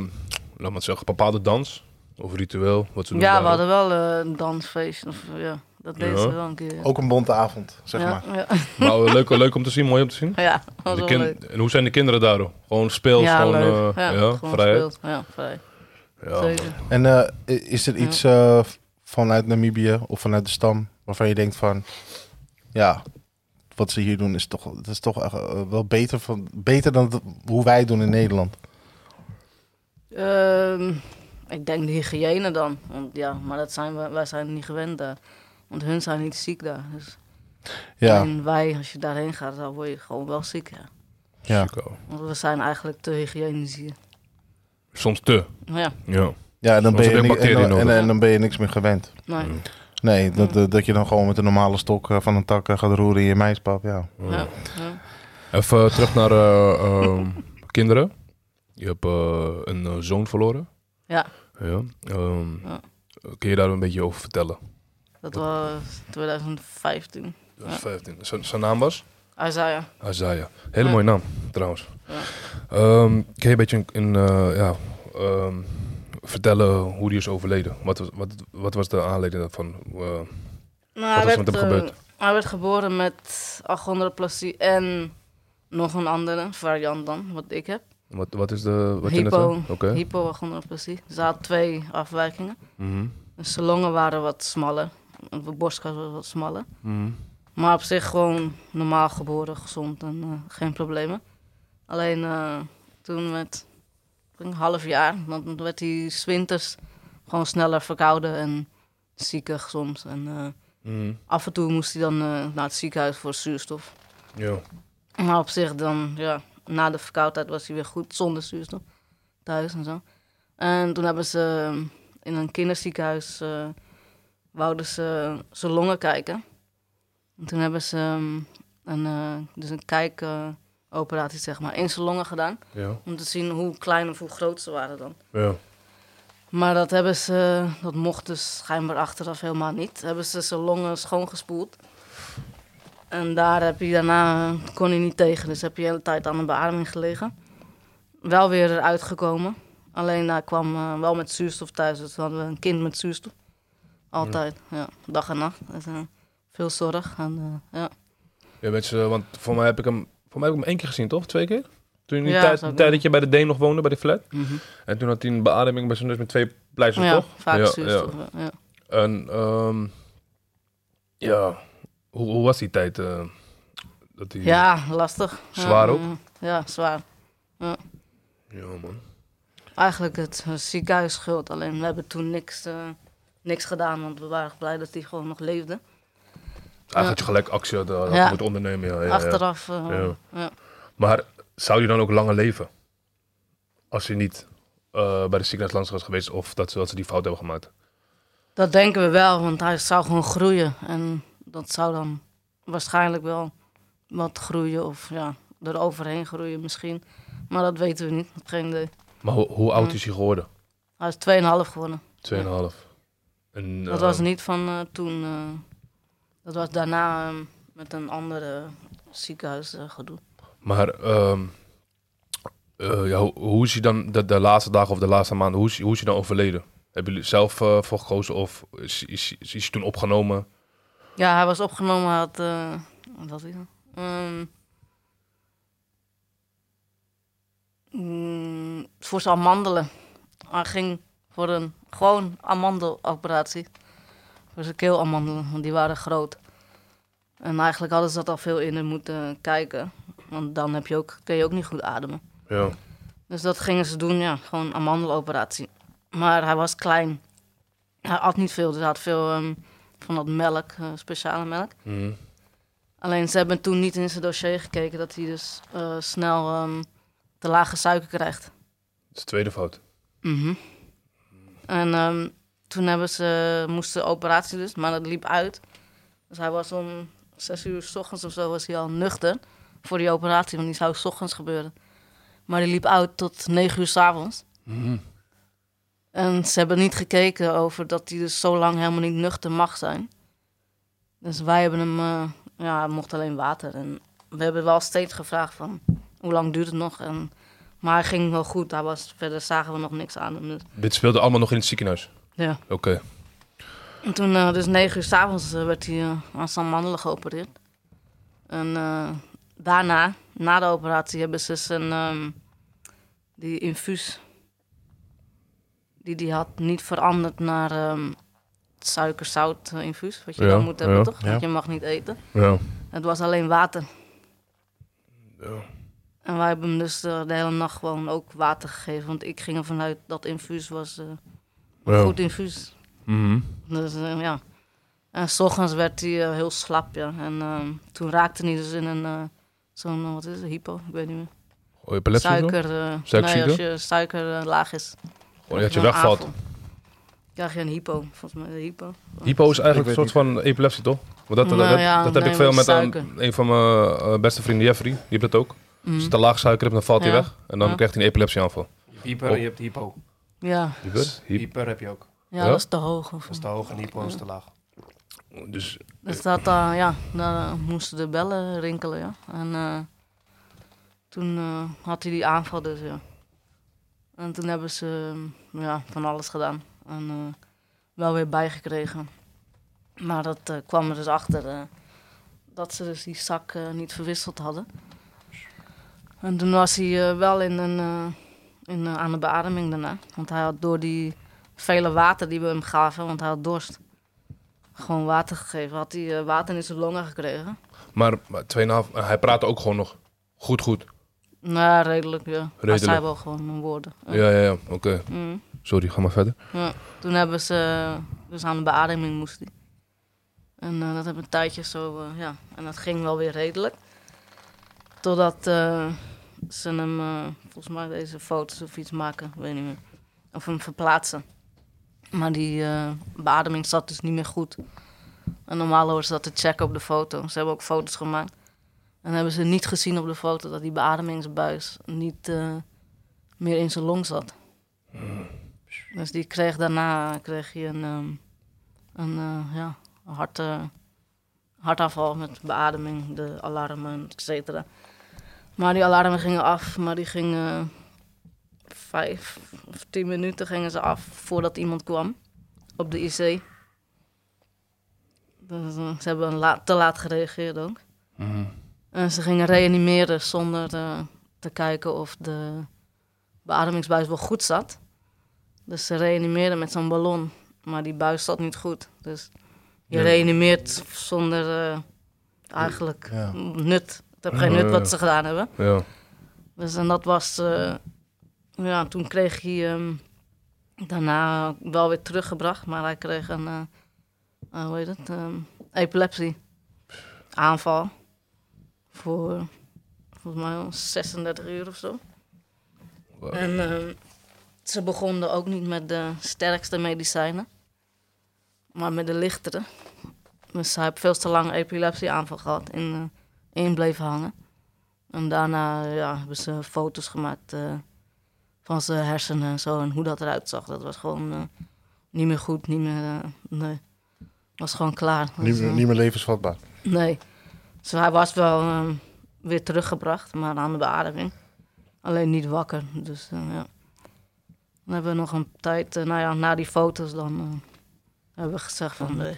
laat maar het zeggen, bepaalde dans? Of ritueel? Wat ze doen
Ja,
daar
we hadden wel eh, een dansfeest. Of, ja, dat deden
Ja.
ze wel een keer. ja.
Ook een bonte avond, zeg
ja,
maar.
Ja,
Maar eh, leuk, leuk om te zien, mooi om te zien.
ja, dat was
De
wel
kin-
leuk.
en hoe zijn de kinderen daar? hoor? Gewoon speels,
ja,
gewoon,
leuk.
eh,
ja,
ja,
gewoon
vrijheid.
gespeeld. Ja, vrij.
Ja,
Zeker.
En eh, i- is er iets eh, vanuit Namibië of vanuit de stam waarvan je denkt van, ja, wat ze hier doen is toch, dat is toch echt, eh, wel beter, van, beter dan het- hoe wij het doen in Nederland?
Ehm, ik denk de hygiëne dan. Want ja, maar dat zijn we, wij zijn niet gewend daar. Want hun zijn niet ziek daar. Dus
Ja,
En wij, als je daarheen gaat, dan word je gewoon wel ziek. Ja.
ja.
Chico.
Want we zijn eigenlijk te hygiënisch hier.
Soms te.
Nou ja,
Ja.
ja en, dan
Soms heb
ben je
je
ni- en,
bacteriën
dan- en,
nodig.
en dan ben je niks meer gewend.
nee.
Mm,
Nee, dat, eh, dat je dan gewoon met een normale stok eh, van een tak eh, gaat roeren in je meispap, ja.
mm.
Ja, ja.
Even eh, terug naar eh, ehm, kinderen. Je hebt eh, een eh, zoon verloren.
Ja.
Ja. Ehm,
Ja.
Kun je daar een beetje over vertellen?
Dat was 2015.
Dat is 15. Z- zijn naam was?
Isaiah.
Azaya. Hele
Ja.
mooie naam, trouwens.
Ja.
Ehm, kun je een beetje een, een, eh, ja, ehm, vertellen hoe die is overleden? Wat was, wat, wat was de aanleiding daarvan? Eh,
Nou, hij
is er met
werd,
hem
eh,
gebeurd?
hij werd geboren met achondroplasie en nog een andere variant dan, wat ik heb.
wat, wat is de... Wat je net
Hypo.
zei? Oké.
Hypoachondroplasie. Ze had twee afwijkingen.
Mhm.
Zijn longen waren wat smaller. De borstkas was wat smaller.
Mhm.
Maar op zich gewoon normaal geboren, gezond en eh, geen problemen. Alleen eh, toen met ik denk een half jaar, dan werd hij 's winters gewoon sneller verkouden en ziekig soms. En eh,
Mhm.
af en toe moest hij dan eh, naar het ziekenhuis voor zuurstof.
Ja.
Maar op zich dan, ja, na de verkoudheid was hij weer goed, zonder zuurstof, thuis en zo. En toen hebben ze ehm, in een kinderziekenhuis, eh, wouden ze zijn longen kijken. En toen hebben ze ehm, een, eh, dus een kijkoperatie, zeg maar, in zijn longen gedaan.
Ja.
Om te zien hoe klein of hoe groot ze waren dan.
Ja.
Maar dat hebben ze, dat mocht dus schijnbaar achteraf helemaal niet. Hebben ze zijn longen schoongespoeld. En daar heb je daarna, eh, kon hij niet tegen, dus heb je de hele tijd aan een beademing gelegen. Wel weer eruit gekomen. Alleen daar kwam eh, wel met zuurstof thuis, dus we hadden een kind met zuurstof. Altijd, ja, dag en nacht. Dus, eh, veel zorg. En, eh, ja.
Ja, mensen, want voor mij heb ik hem, voor mij heb ik hem één keer gezien, toch? Twee keer? Toen in die
Ja,
tijd,
zou
die
ik
tijd dat je bij de Deen nog woonde, bij de flat.
Mhm.
En toen had hij een beademing bij zijn neus met twee pleisters,
Oh ja,
toch?
vaak
ja,
zuurstof.
Ja.
Ja. Ja.
En, ehm, ja, hoe, hoe was die tijd? eh, dat die,
Ja, lastig.
Zwaar
Ja, mm,
ook?
Ja, zwaar.
Ja, man.
Eigenlijk het eh, ziekenhuis schuld. Alleen we hebben toen niks, eh, niks gedaan, want we waren blij dat hij gewoon nog leefde.
Eigenlijk had je gelijk actie had, had
Ja.
moeten ondernemen. Ja, ja, ja.
Achteraf. eh,
Ja.
ja.
Maar zou je dan ook langer leven? Als je niet eh, bij de ziekenhuis langs was geweest of dat ze, dat ze die fout hebben gemaakt?
Dat denken we wel, want hij zou gewoon groeien. En dat zou dan waarschijnlijk wel wat groeien of ja, er overheen groeien misschien. Maar dat weten we niet, Ik heb geen idee.
Maar ho- hoe
Mm.
oud is hij geworden?
eh, Hij is 2,5 gewonnen.
2,5. En,
Dat
eh,
was niet van eh, toen. eh, dat was daarna eh, met een andere ziekenhuis eh, gedoe.
Maar ehm, eh, ja, ho- hoe is hij dan de, de laatste dagen of de laatste maanden, hoe is, hoe is hij dan overleden? Hebben jullie zelf eh, voor gekozen of is, is, is, hij toen opgenomen?
Ja, hij was opgenomen, hij had... eh, wat had hij dan? Ehm, mm, voor zijn amandelen. Hij ging voor een gewoon amandeloperatie. Voor zijn keelamandelen, want die waren groot. En eigenlijk hadden ze dat al veel eerder moeten kijken. Want dan heb je ook, kun je ook niet goed ademen.
Ja.
Dus dat gingen ze doen, ja. Gewoon een amandeloperatie. Maar hij was klein. Hij at niet veel, dus hij had veel ehm, van dat melk, eh, speciale melk.
Mhm.
Alleen ze hebben toen niet in zijn dossier gekeken dat hij dus eh, snel ehm, te lage suiker krijgt.
Dat is de tweede fout.
Mhm. En ehm, toen hebben ze, moesten operatie dus, maar dat liep uit. Dus hij was om zes uur s ochtends of zo was hij al nuchter voor die operatie, want die zou s ochtends gebeuren. Maar die liep uit tot negen uur s avonds. En ze hebben niet gekeken over dat hij dus zo lang helemaal niet nuchter mag zijn. Dus wij hebben hem, eh, ja, hij mocht alleen water. En we hebben wel steeds gevraagd van, hoe lang duurt het nog? En, maar hij ging wel goed, hij was, verder zagen we nog niks aan hem. Dus,
Dit speelde allemaal nog in het ziekenhuis?
ja.
Oké.
En toen, eh, dus negen uur s'avonds, avonds eh, werd hij eh, aan zijn mandelen geopereerd. En eh, daarna, na de operatie, hebben ze zijn ehm, die infuus die hij had niet veranderd naar ehm suikerzout eh, infuus. Wat je
Ja,
dan moet hebben,
ja,
toch?
ja.
Want je mag niet eten.
Ja.
Het was alleen water.
Ja.
En wij hebben hem dus eh, de hele nacht gewoon ook water gegeven. Want ik ging ervan uit dat infuus was eh, een
Ja.
goed infuus.
Mhm.
Dus eh, ja. En s ochtends werd hij eh, heel slap, ja. En ehm, toen raakte hij dus in een, eh, zo'n, eh, wat is het, hypo? Ik weet niet meer.
Oh, je palet
suiker, eh,
Suikerziekte?
nee, als je suiker eh, laag is.
Oh, dat je
dan
wegvalt.
aanval. krijg je een hypo, volgens mij, een hypo.
Hypo is
Ik
eigenlijk een
weet
soort van epilepsie, toch? Want dat, dat,
Nou
dat,
ja,
dat heb
nee,
ik veel
met
met een,
suiker. Mhm.
een van mijn eh, beste vrienden, Jeffrey. Die heeft dat ook. Als je te laag suiker hebt, dan valt hij
Ja.
weg. En dan
Ja.
krijgt hij een epilepsieaanval.
Hyper,
Op.
je hebt hypo.
Ja,
Dus, hyp-
Hyper heb je ook.
ja,
Ja?
dat is te hoog. Of,
Dat is te hoog en hypo is te laag.
dus
dus dat, eh, ja, daar eh, moesten de bellen rinkelen, ja. En eh, toen eh, had hij die aanval dus, ja. En toen hebben ze eh, ja, van alles gedaan. En eh, wel weer bijgekregen. Maar dat eh, kwam er dus achter eh, dat ze dus die zak eh, niet verwisseld hadden. En toen was hij eh, wel in een, eh, in, eh, aan de beademing daarna. Want hij had door die vele water die we hem gaven, want hij had dorst, gewoon water gegeven. Had hij eh, water in zijn longen gekregen.
Maar, maar 2,5, hij praatte ook gewoon nog. Goed, goed.
Nou, ja, redelijk, ja. Hij
Redelijk.
zei wel gewoon woorden. Ja.
Ja, ja, ja. Oké.
Mm.
Sorry, ga maar verder.
Ja, toen hebben ze, dus aan de beademing moest hij. En eh, dat heb een tijdje zo, eh, ja. En dat ging wel weer redelijk. Totdat eh, ze hem, eh, volgens mij deze foto's of iets maken, ik weet niet meer. Of hem verplaatsen. Maar die eh, beademing zat dus niet meer goed. En normaal horen ze dat te checken op de foto. Ze hebben ook foto's gemaakt. En hebben ze niet gezien op de foto dat die beademingsbuis niet eh, meer in zijn long zat. Dus die kreeg daarna kreeg hij een, ehm, een eh, ja, een hart, eh, hartaanval met beademing, de alarmen, et cetera. Maar die alarmen gingen af, maar die gingen eh, vijf of tien minuten gingen ze af voordat iemand kwam op de IC. Dus, eh, ze hebben la- te laat gereageerd ook. En ze gingen reanimeren zonder eh, te kijken of de beademingsbuis wel goed zat. Dus ze reanimeerden met zo'n ballon. Maar die buis zat niet goed. Dus je
Ja.
reanimeert zonder eh, eigenlijk
Ja.
nut. Het heeft geen
Ja,
nut
ja.
wat ze gedaan hebben.
Ja.
Dus en dat was. eh, ja, toen kreeg hij ehm, daarna wel weer teruggebracht, maar hij kreeg een. eh, eh, hoe heet het? ehm, epilepsie. aanval. Voor volgens mij wel 36 uur of zo.
Wow.
En ehm, ze begonnen ook niet met de sterkste medicijnen, maar met de lichtere. Dus hij heeft veel te lang epilepsieaanval gehad en eh, in bleef hangen. En daarna ja, hebben ze foto's gemaakt eh, van zijn hersenen en zo en hoe dat eruit zag. Dat was gewoon eh, niet meer goed, niet meer. eh, nee, was gewoon klaar.
Niet,
Dus, eh,
niet meer levensvatbaar.
Nee. Dus hij was wel ehm, weer teruggebracht, maar aan de beademing. Alleen niet wakker. Dus eh, ja. Dan hebben we nog een tijd, eh, nou ja, na die foto's dan eh, hebben we gezegd van nee,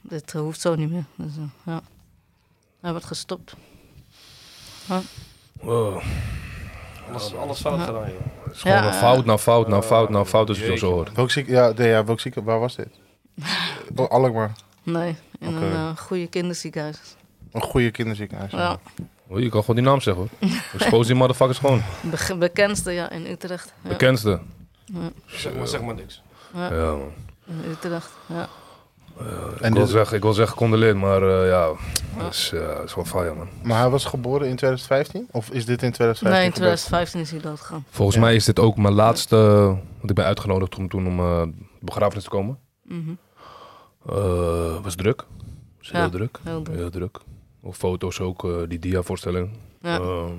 dit eh, hoeft zo niet meer. Dus eh, ja, we hebben het gestopt.
Wow.
Alles, alles fout
Ja.
gedaan, joh.
Oh, Het is gewoon
Ja.
een fout na fout na fout na fout als je het
Jeetje.
zo hoort.
Welk ziek, ja, nee, ja, welk ziek, waar was dit? Oh, Alkmaar.
Nee, in
Oké.
een eh, goede kinderziekenhuis.
Een goede kinderziekenhuis.
Ja,
Oh, Je kan gewoon die naam zeggen hoor. Expose die motherfuckers gewoon.
be- bekendste ja, in Utrecht. Ja,
Bekendste.
Zeg maar, zeg maar niks.
Ja.
Ja, man.
in Utrecht, ja.
En
Ik wil
dit-
zeggen, ik wil zeggen condoleer, maar eh, ja, dat is, eh, dat is gewoon fire man.
maar hij was geboren in 2015? Of is dit in 2015?
Nee, in
gebeurd?
2015 is hij doodgegaan.
Volgens
Ja.
mij is dit ook mijn laatste, want ik ben uitgenodigd om toen om eh, de begrafenis te komen.
Mhm.
Eh, was druk. Was heel
Ja.
druk.
Heel druk.
Heel druk. Of foto's ook, eh, die dia-voorstelling.
Ja.
Ehm,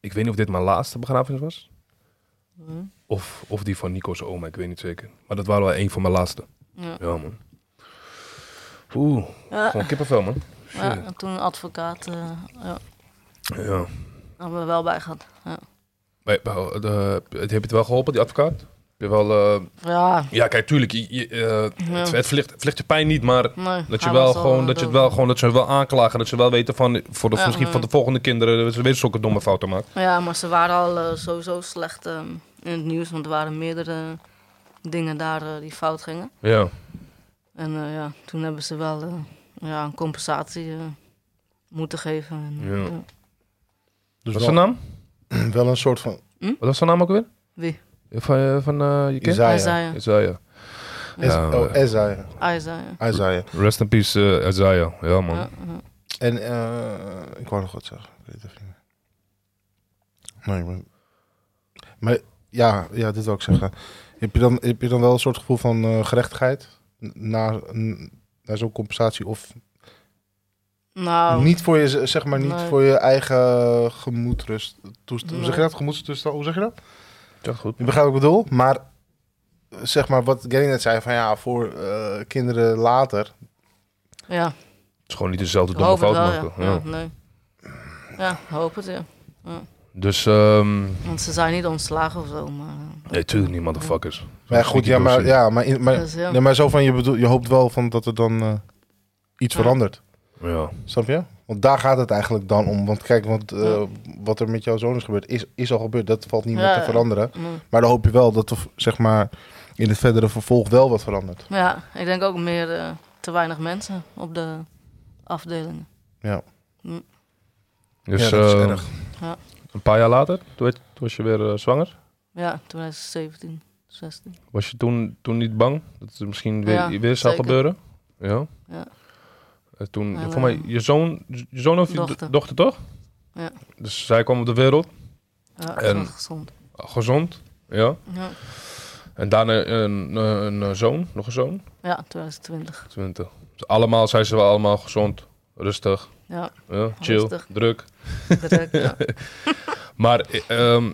ik weet niet of dit mijn laatste begrafenis was.
Mhm.
Of, of die van Nico's oma, ik weet niet zeker. Maar dat waren wel een van mijn laatste.
Ja. Ah.
Ja, man. Oeh,
Ja.
gewoon kippenvel, man. Shit.
Ja, en toen een advocaat, eh ja,
Ja.
hebben we wel bij gehad. Ja,
Maar, eh, de- heb je het wel geholpen, die advocaat? Heb je wel... eh,
ja
ja, kijk, tuurlijk. je- je, eh, het,
Ja.
het, vliegt, het vliegt je pijn niet, maar...
nee,
Dat je,
hij
wel
was al,
gewoon,
eh,
dat je het
dood.
wel gewoon, dat ze wel aanklagen. Dat ze wel weten van, voor de,
Ja,
misschien
eh.
van de volgende kinderen, dat ze weer zulke domme fouten maken.
Ja, maar ze waren al eh, sowieso slecht eh, in het nieuws, want er waren meerdere dingen daar eh, die fout gingen.
Ja.
En eh, ja, toen hebben ze wel eh, ja, een compensatie eh, moeten geven. En, eh,
Ja.
ja.
Wat
Dus
was zijn
wel,
naam?
wel een soort van
Wat was zijn naam ook weer?
Wie?
Van, eh, van eh, je kind?
Isaiah.
Isaiah.
Isaiah.
Es-
Ja,
oh, Isaiah.
Isaiah.
Isaiah.
Rest in peace, eh, Isaiah. Ja, man.
Ja, ja.
En eh, ik wou nog wat zeggen. Ik weet het even niet meer. Nee, maar, maar ja, ja, dit wil ik zeggen. Heb je dan, heb je dan wel een soort gevoel van eh, gerechtigheid na, n- na zo'n compensatie? Of
Nou,
niet voor je, z- zeg maar, niet
Nee.
voor je eigen gemoedrust. Toest- Hoe zeg je
Nee.
dat? Gemoedstoestand? Hoe zeg je dat?
Ja, goed.
Je begrijpt wat ik bedoel? Maar eh, zeg maar wat Gary net zei van ja, voor eh, kinderen later.
ja,
Het is gewoon niet dezelfde
ik
domme
hoop het
fout
wel, ja.
maken. Ja.
Ja, nee. ja, ik hoop het, ja.
Dus, ehm
Want ze zijn niet ontslagen of zo, maar... eh,
nee, tuurlijk niet, motherfuckers.
Maar ja, goed, ja, maar, ja, maar, in, maar,
dus, ja.
nee, maar zo van je, bedoel, je hoopt wel van dat er dan eh, iets
Ja.
verandert.
Ja.
Snap je? Want daar gaat het eigenlijk dan om. Want kijk, want, eh,
Ja.
wat er met jouw zoon is gebeurd, is, is al gebeurd. Dat valt niet
Ja,
meer te
ja.
veranderen.
Nee.
Maar dan hoop je wel dat er zeg maar, in het verdere vervolg wel wat verandert.
Ja, ik denk ook meer eh, te weinig mensen op de afdelingen.
Dus,
Ja, dat is
ehm,
erg.
Ja.
een paar jaar later, toen, werd- toen was je weer eh, zwanger.
Ja, 2017, 16.
Was je toen, toen niet bang dat het misschien weer,
Ja,
weer zou
zeker.
gebeuren? Ja.
Ja.
En toen,
Maar,
voor mij,
eh,
je zoon, je zoon of je dochter,
dochter.
toch?
Ja.
Dus zij kwam op de wereld,
Ja,
En-
en... gezond.
gezond. Ja.
Ja.
En daarna een, eh, een, een zoon, nog een zoon.
ja, 2020.
20. Dus allemaal zijn ze wel allemaal gezond, rustig,
Ja,
ja, chill,
Rustig.
druk.
direct. ja.
Maar, eh, ehm,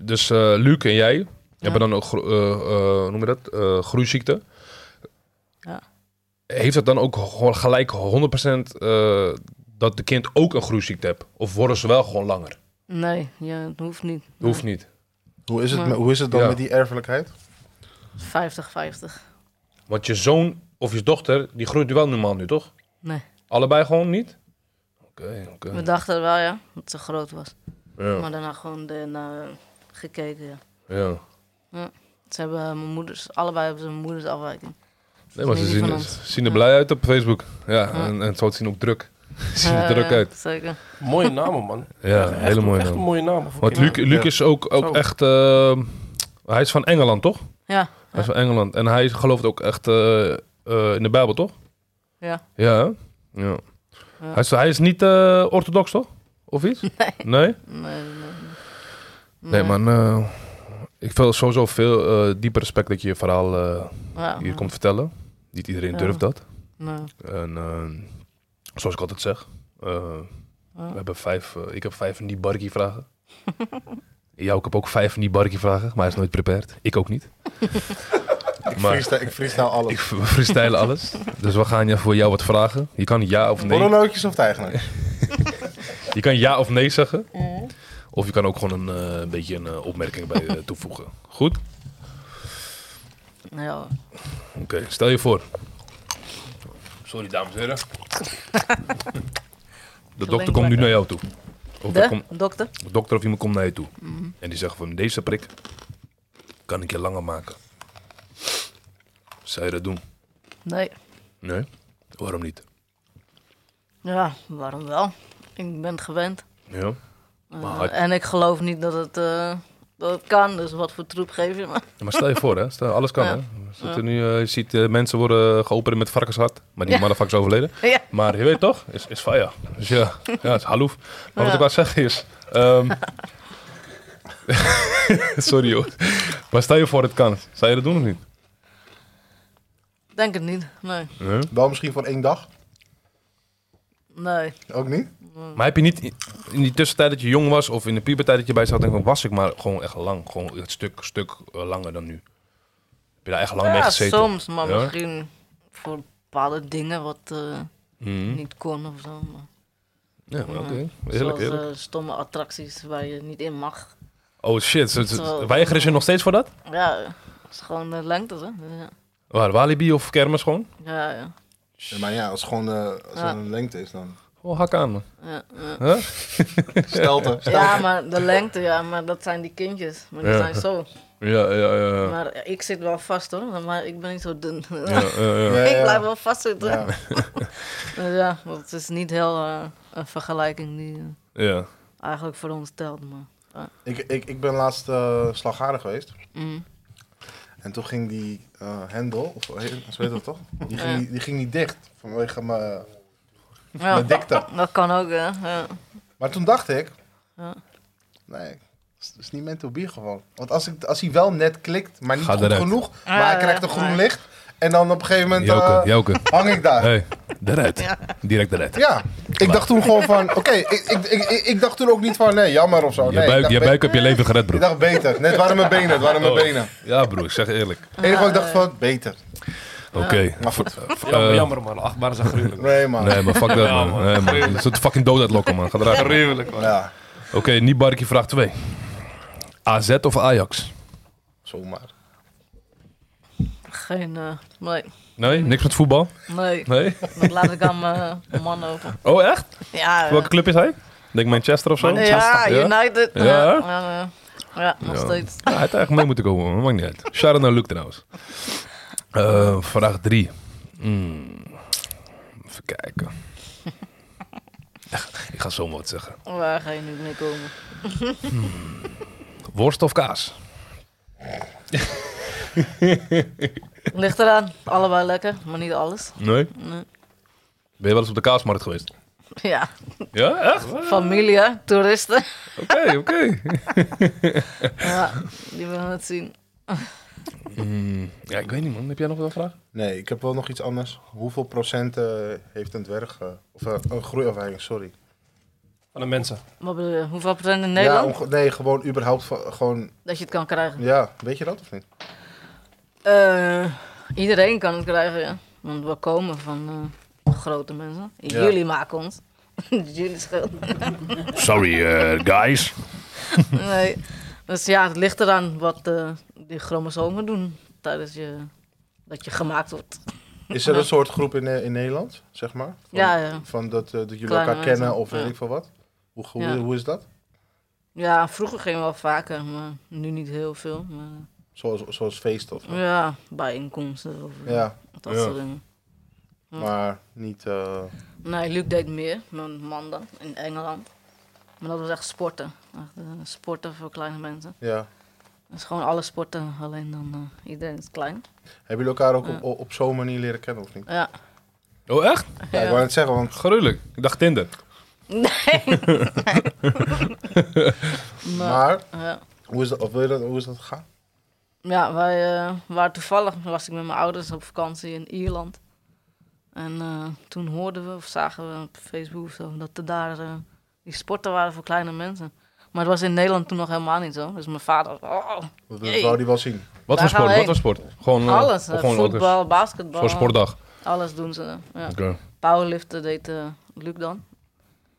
dus eh, Luc en jij hebben dan ook, gro- eh, eh, hoe noem je dat, Eh, groeiziekte.
Ja.
Heeft dat dan ook gewoon gelijk 100% eh, dat de kind ook een groeiziekte hebt? Of worden ze wel gewoon langer?
Nee, ja, het hoeft niet.
Dat hoeft niet.
Hoe is het,
Maar-
met- hoe is het dan
Ja.
met die erfelijkheid?
50-50.
Want je zoon of je dochter, die groeit wel normaal nu, toch?
Nee,
Allebei gewoon niet? Oké, oké.
we dachten wel ja, dat ze groot was.
Ja,
Maar daarna gewoon de, naar gekeken, ja.
ja.
Ze hebben eh, mijn moeders, allebei hebben ze mijn moeders afwijking.
Nee, maar
Nee,
ze
die
zien,
van
ze
ons.
zien er
Ja.
blij uit op Facebook. Ja,
Ja.
En, en zo zien ook druk. Ze zien er
Eh,
druk uit.
Zeker.
Mooie namen, man.
Ja,
Echt-
hele mooie
Echt een
naam.
mooie naam. voor
Want Luc,
kinderen.
Luc
Ja.
is ook,
Zo.
ook echt... eh, hij is van Engeland, toch?
Ja,
Hij is van Engeland. En hij gelooft ook echt eh, eh, in de Bijbel, toch?
ja.
Ja, hè? Ja. Hij, is, hij is niet eh, orthodox, toch? Of iets? Nee. Nee,
Nee, nee, nee.
man. eh, ik vind sowieso veel eh, dieper respect dat je je verhaal eh,
Ja,
hier komt vertellen. Niet iedereen
Ja.
durft dat.
nee.
En eh, zoals ik altijd zeg, eh, we hebben vijf, eh, ik heb vijf van die barkie vragen. Jou, ik heb ook vijf van die barkie vragen, maar hij is nooit prepared. Ik ook niet.
Ik
Maar-
freestyle, ik freestyle alles.
Ik we freestylen alles. Dus we gaan je voor jou wat vragen. Je kan ja of nee.
Borrelnootjes of eigenlijk?
Je kan ja of nee zeggen. Of je kan ook gewoon een eh, beetje een eh, opmerking bij eh, toevoegen. Goed?
Ja, hoor.
Oké, stel je voor. Sorry, dames en heren. De dokter komt nu naar jou toe. Of er
de
komt-
dokter.
de dokter of iemand komt naar je toe.
Mhm.
En die zegt van deze prik kan ik je langer maken. Zou je dat doen?
Nee.
Nee? Waarom niet?
Ja, waarom wel? Ik ben het gewend.
Ja?
Eh,
had-
en ik geloof niet dat het, eh, dat het kan, dus wat voor troep geef je me?
Ja, Maar stel je voor, hè? Stel, alles kan,
Ja.
hè? We zitten nu, eh, je ziet eh, mensen worden geopereerd met varkenshart. Maar die
Ja.
motherfucker is overleden.
Ja.
Maar je weet toch, is, is fire. Dus ja, ja is halloef. Maar wat
Ja.
ik wou zeggen is... ehm, sorry, hoor. Maar stel je voor, het kan. Zou je dat doen of niet?
Denk het niet. Nee.
Nee.
Wel misschien voor één dag.
Nee.
Ook niet?
Maar heb je niet in- in die tussentijd dat je jong was... of in de pubertijd dat je bij zat... denk van, was ik maar gewoon echt lang. Gewoon een stuk, stuk eh, langer dan nu. Heb je daar echt lang mee
ja,
Oh, gezeten?
soms, maar
Ja?
misschien voor bepaalde dingen wat eh,
Mhm.
niet kon of zo. Maar,
Ja, maar oké. Eerlijk,
zoals
eerlijk.
eh, stomme attracties waar je niet in mag.
Oh shit, zo- zo-
Zo.
weigeren ze je nog steeds voor dat?
Ja, eh, het is gewoon de lengte, hè? Dus ja.
Waar, Walibi of kermis gewoon?
Ja, ja.
Ja, maar ja, als het gewoon eh, als
Ja.
het een lengte is dan.
Gewoon hak aan man.
Ja, ja.
Huh?
Stelte.
ja, maar de lengte, ja, maar dat zijn die kindjes. Maar die
Ja.
zijn zo.
Ja, ja, ja. ja.
Maar ik zit wel vast hoor, maar ik ben niet zo dun.
Ja, ja, ja.
Ja,
ik
ja.
blijf wel vastzitten.
Ja.
Ja, dus ja want het is niet heel eh, een vergelijking die eh,
Ja.
eigenlijk voor ons telt. Maar,
Ik, ik, ik ben laatst eh slagharig geweest.
Mm.
En toen ging die eh hendel, of eh, zo heet dat toch? Die ging, niet- die ging niet dicht vanwege mijn
Ja,
mijn dikte.
dat kan ook, hè. Ja.
Maar toen dacht ik,
Ja.
nee, het is niet meant to be gewoon. Want als, ik, als hij wel net klikt, maar niet
Ga
goed
eruit.
genoeg,
Ah,
maar hij krijgt een
ja,
groen
ja.
licht. En dan op een gegeven moment eh,
Joke, Joke.
hang ik daar.
Hey, daaruit. Direct eruit.
Ja, ik dacht toen gewoon van, oké, ik, ik, ik, ik, ik dacht toen ook niet van, nee, jammer of zo.
Je
nee, ik
buik,
dacht,
je
be-
buik heb je leven gered,
ik
broer.
dacht beter. Net waren mijn benen, het waren mijn benen.
Ja, broer, ik zeg eerlijk.
Het enige wat ik dacht van, beter.
Oké.
Maar goed,
Jammer,
Eh.
jammer man, achtbaar is echt gruwelijk.
nee man.
Nee, maar fuck dat,
Ja,
man.
man.
Nee, man. Je zult fucking dood uitlokken, man. Ga eruit. man.
Gruwelijk man.
Ja,
Oké, niet barkie vraag 2. AZ of Ajax?
zomaar.
Geen, eh, nee,
Nee, niks met voetbal?
nee.
Nee?
Dat laat ik aan mijn man over.
Oh, echt?
Ja, eh,
Welke club is hij? Denk Manchester of zo?
ja
Ja?
United.
Ja,
Ja,
hè?
eh, ja, ja. Ja, nog
Ja.
steeds.
Ja, hij had eigenlijk mee moeten komen, maar maakt niet uit. Shout-out naar Luc trouwens. Eh, vraag 3. Even kijken. Ik ga zomaar wat zeggen.
Waar ga je nu mee komen?
Worst of kaas?
Ligt eraan. Allebei lekker, maar niet alles.
Nee?
Nee.
Ben je wel eens op de kaasmarkt geweest?
Ja,
Ja, echt?
familie, hè, toeristen.
Oké, oké.
Ja, die willen het zien.
Mm, ja, ik weet niet man. Heb jij nog wel een vraag?
Nee, ik heb wel nog iets anders. Hoeveel procent eh, heeft een dwerg, eh, of eh, een groeiafwijking, sorry.
Van de mensen.
Wat bedoel je? Hoeveel procent in
Ja,
Nederland?
onge- nee, gewoon überhaupt, van- gewoon,
Dat je het kan krijgen.
ja, weet je dat of niet?
Eh, iedereen kan het krijgen, ja. Want we komen van eh, grote mensen. Jullie maken ons. Dus Jullie schuld.
Sorry, eh, guys.
nee. Dus ja, het ligt eraan wat eh, die chromosomen doen tijdens je, dat je gemaakt wordt.
Is er een soort groep in, eh, in Nederland, zeg maar? Van,
Ja, ja.
Van dat, eh, dat jullie
Kleine
elkaar
mensen,
kennen of weet
ja.
ik veel wat? Hoe, hoe,
Ja.
hoe is dat?
Ja, vroeger gingen we wel vaker, maar nu niet heel veel. Maar,
Zoals, zoals feest of zo.
ja, bijeenkomsten of eh,
Ja,
dat
Ja.
soort dingen.
maar niet... eh,
Nee, Luc deed meer, mijn man dan, in Engeland. Maar dat was echt sporten. Echt, eh, sporten voor kleine mensen.
ja.
Dat is gewoon alle sporten, alleen dan eh, iedereen is klein.
Hebben jullie elkaar ook op, op zo'n manier leren kennen of niet?
Ja,
Oké, Oh, echt?
Ja, ik wou het zeggen, want
Gruwelijk. Ik dacht Tinder.
Nee. maar,
maar
ja.
hoe is dat, of wil je dat, hoe is dat gegaan?
Ja, wij eh, waren toevallig, was ik met mijn ouders op vakantie in Ierland. En eh, toen hoorden we of zagen we op Facebook of zo dat er daar eh, die sporten waren voor kleine mensen. Maar dat was in Nederland toen nog helemaal niet zo. Dus mijn vader, oh,
Dat
Jee.
wou die wel zien.
Wat
Daar
voor
gaan we
sport? Wat voor
heen.
sport? Gewoon, eh,
alles. eh,
gewoon
voetbal, eh,
Voor
basketbal.
sportdag.
Alles doen ze. Ja.
Oké.
Powerliften deed eh, Luc dan.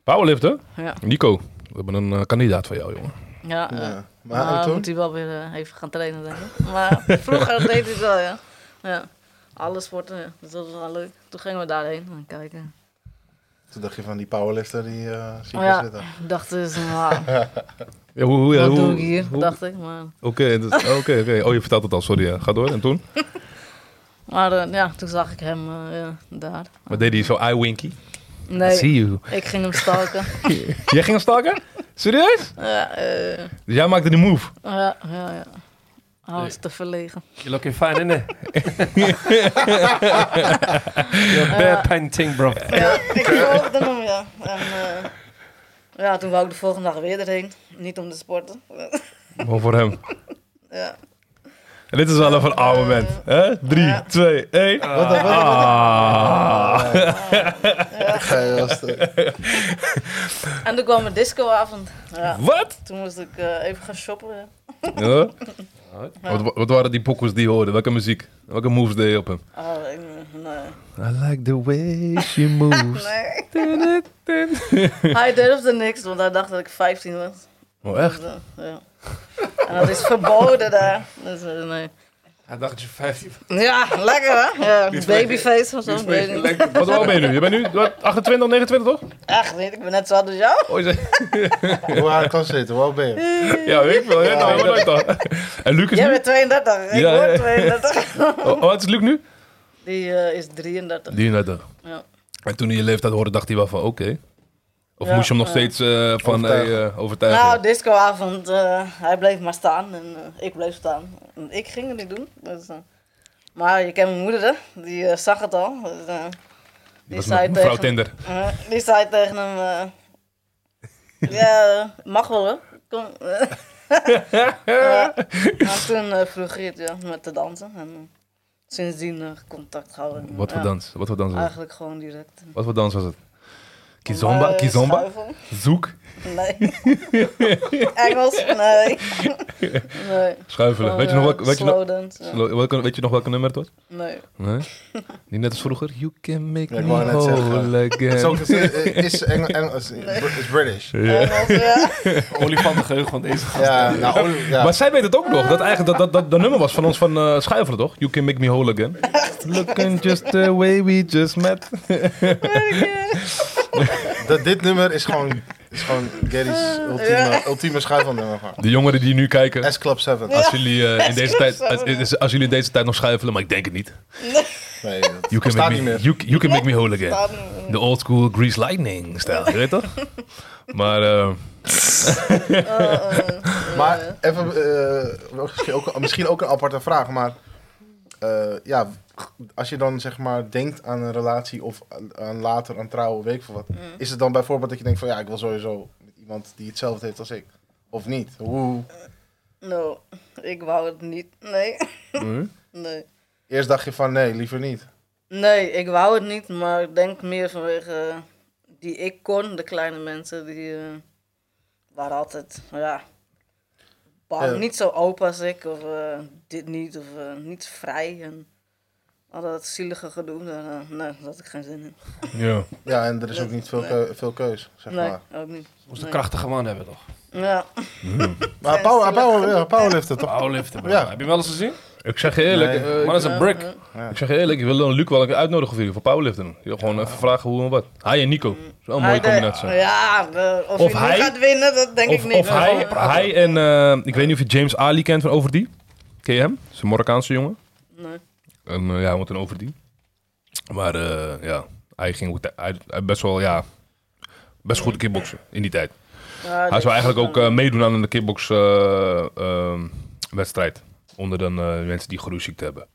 Powerliften?
Ja,
Nico, we hebben een eh, kandidaat voor jou, jongen.
ja, eh,
Ja. Maar
Maar
en toen?
moet hij wel weer eh, even gaan trainen, denk ik. Maar vroeger deed hij het wel, ja. ja. Alle sporten, ja. Dus dat was wel leuk. Toen gingen we daarheen en kijken.
Toen dacht je van die powerlifter die eh ziet
Maar Oh ja,
er zitten.
ik dacht dus, nou,
Ja, hoe, hoe, ja,
wat
hoe-
doe ik hier,
hoe-
dacht ik. Maar,
Oké, dus- oké, oké. Oh, je vertelt het al, sorry. ja. Ga door. En toen?
maar eh, ja, toen zag ik hem eh, ja, daar.
Wat deed hij zo? Eye winky?
Nee,
See you.
ik ging hem stalken.
Jij ging hem staken? Serieus?
ja, eh,
Dus jij maakte die move?
ja, ja, ja. Hij was te verlegen.
You looking fine, innit? You're bad painting, bro.
Ja, ik volgde hem, ja. En, eh, ja, toen wou ik de volgende dag weer erheen. Niet om te sporten.
Gewoon voor hem.
ja.
En dit is wel even een oude moment. Hè? Drie, twee, één. Ah.
Ja, ja, dat is de-
En toen kwam een discoavond. Ja.
Wat?
Toen moest ik eh, even gaan shoppen. ja.
Ja. Wat, wa- wat waren die pokkels die je hoorde? Welke muziek? Welke moves deed je op hem?
Oh, ik, nee.
I like the way she moves.
nee. Hij durfde niks, want hij dacht dat ik 15 was.
Oh, echt?
Dus, eh, ja. En dat is verboden daar. Dus, eh, nee.
Hij dacht dat je 15
Ja, lekker hè? Ja, babyface of zo. ik weet niet.
Wat oud ben je nu? Je bent nu wat, 28, 29 toch?
Echt niet, ik ben net zo oud als jou.
Oh, je zei-
Hoe hard kan zitten? Waar ben je?
ja, weet ik veel. Ja, nou, wat leuk dan. En Luc is
Jij
nu?
bent 32, ik
Ja, ja, ja.
word 32.
Oh, wat is Luc nu?
Die eh, is 33.
33.
Ja.
En toen hij je leeftijd hoorde, dacht hij wel van oké. Of
Ja,
moest je hem nog
ja.
steeds eh, van
Overtuigen.
hey, eh, overtuigen?
Nou, discoavond, eh, hij bleef maar staan en eh, ik bleef staan. En ik ging het niet doen. Dus, eh, maar je kent mijn moeder, hè? die eh, zag het al. Dus, eh,
die was
zei
me- mevrouw
tegen-
Tinder.
Eh, die zei tegen hem... eh, ja, eh, mag wel, hè? Kom. eh. Ja. Maar toen eh, vroeg hij het ja, met te dansen. En eh, sindsdien eh, contact houden.
Wat voor
Ja,
dans? Wat voor dans was het?
Eigenlijk gewoon direct.
Wat voor dans was het? Kizomba?
Maar, eh,
Kizomba?
schuifel?
Zoek?
Nee. Engels? Nee. nee.
Schuifelen. Weet je nog welke, weet je nog,
slow dance, Oh, ja.
welke, weet je nog welke nummer het was?
Nee.
Nee? Niet net als vroeger? You can make
Ja, ik
me
wou net zeggen.
whole
Het is, ook,
again.
het is, Engel- Engel- is- is British.
Engels, ja.
olifantengeheugen van deze gast.
Ja, nou, Oli- ja.
Maar zij weet het ook nog. Dat eigenlijk dat, dat, dat, dat nummer was van ons van eh Schuifelen, toch? You can make me whole again. Looking just the way we just met.
dat, dit nummer is gewoon, is gewoon Gary's ultieme, ultieme schuifelnummer. gewoon.
De jongeren die nu kijken.
S Club 7.
Als jullie, eh, in deze tijd, als,
klopt,
is- als jullie in deze tijd nog schuifelen, maar ik denk het niet.
Nee, dat
You can,
bestaat
make
niet
me,
meer.
you, you can make me whole again.
Staat niet.
De old school Grease Lightning stijl, je weet toch? Maar eh,
Maar even, eh, misschien, ook, misschien ook een aparte vraag, maar eh, ja, als je dan zeg maar denkt aan een relatie of aan, aan later aan trouwen, weet ik veel wat, is het dan bijvoorbeeld dat je denkt van ja, ik wil sowieso met iemand die hetzelfde heeft als ik? Of niet? Hoe?
No, ik wou het niet. Nee. Nee.
Eerst dacht je van nee, liever niet.
Nee, ik wou het niet, maar ik denk meer vanwege eh, die ik kon, de kleine mensen, die eh, waren altijd, nou ja, bang,
Ja.
niet zo open als ik, of eh, dit niet, of eh, niet vrij. En al dat zielige gedoe, daar, eh, nee, daar had ik geen zin in.
ja.
Ja, en er is ook niet veel, keu- veel keus, zeg
Nee,
Ah.
maar.
ook niet.
Moest een
Nee.
krachtige man hebben, toch?
Ja,
Oh,
Maar power, power, ja, powerliften toch?
Powerlifter, bro.
Ja.
Heb je hem wel eens gezien?
ik zeg je eerlijk,
Nee.
eh, ik-
Man is een brick.
ik zeg je eerlijk, ik wil dan Luc wel een keer uitnodigen voor jullie, voor powerliften. Ja, Gewoon even vragen hoe en wat. Hij en Nico, dat is wel een mooie
Hij de-
combinatie.
Ja, de- of,
Of
hij,
hij?
nu gaat winnen, dat denk ik
Of,
niet.
of
maar
hij,
gewoon-
hij en, eh, ik weet niet of je James Ali kent van Overdie. Ken je hem? Dat is een Marokkaanse jongen.
Nee.
En, eh, ja, want een overdien. Maar eh, ja, hij ging goed- hij, hij best wel, ja, best goed kickboksen in die tijd.
Ja,
Hij
dat-
zou eigenlijk ook eh, meedoen aan een kickbox eh, ehm, wedstrijd. Onder dan eh, mensen die groeiziekte hebben.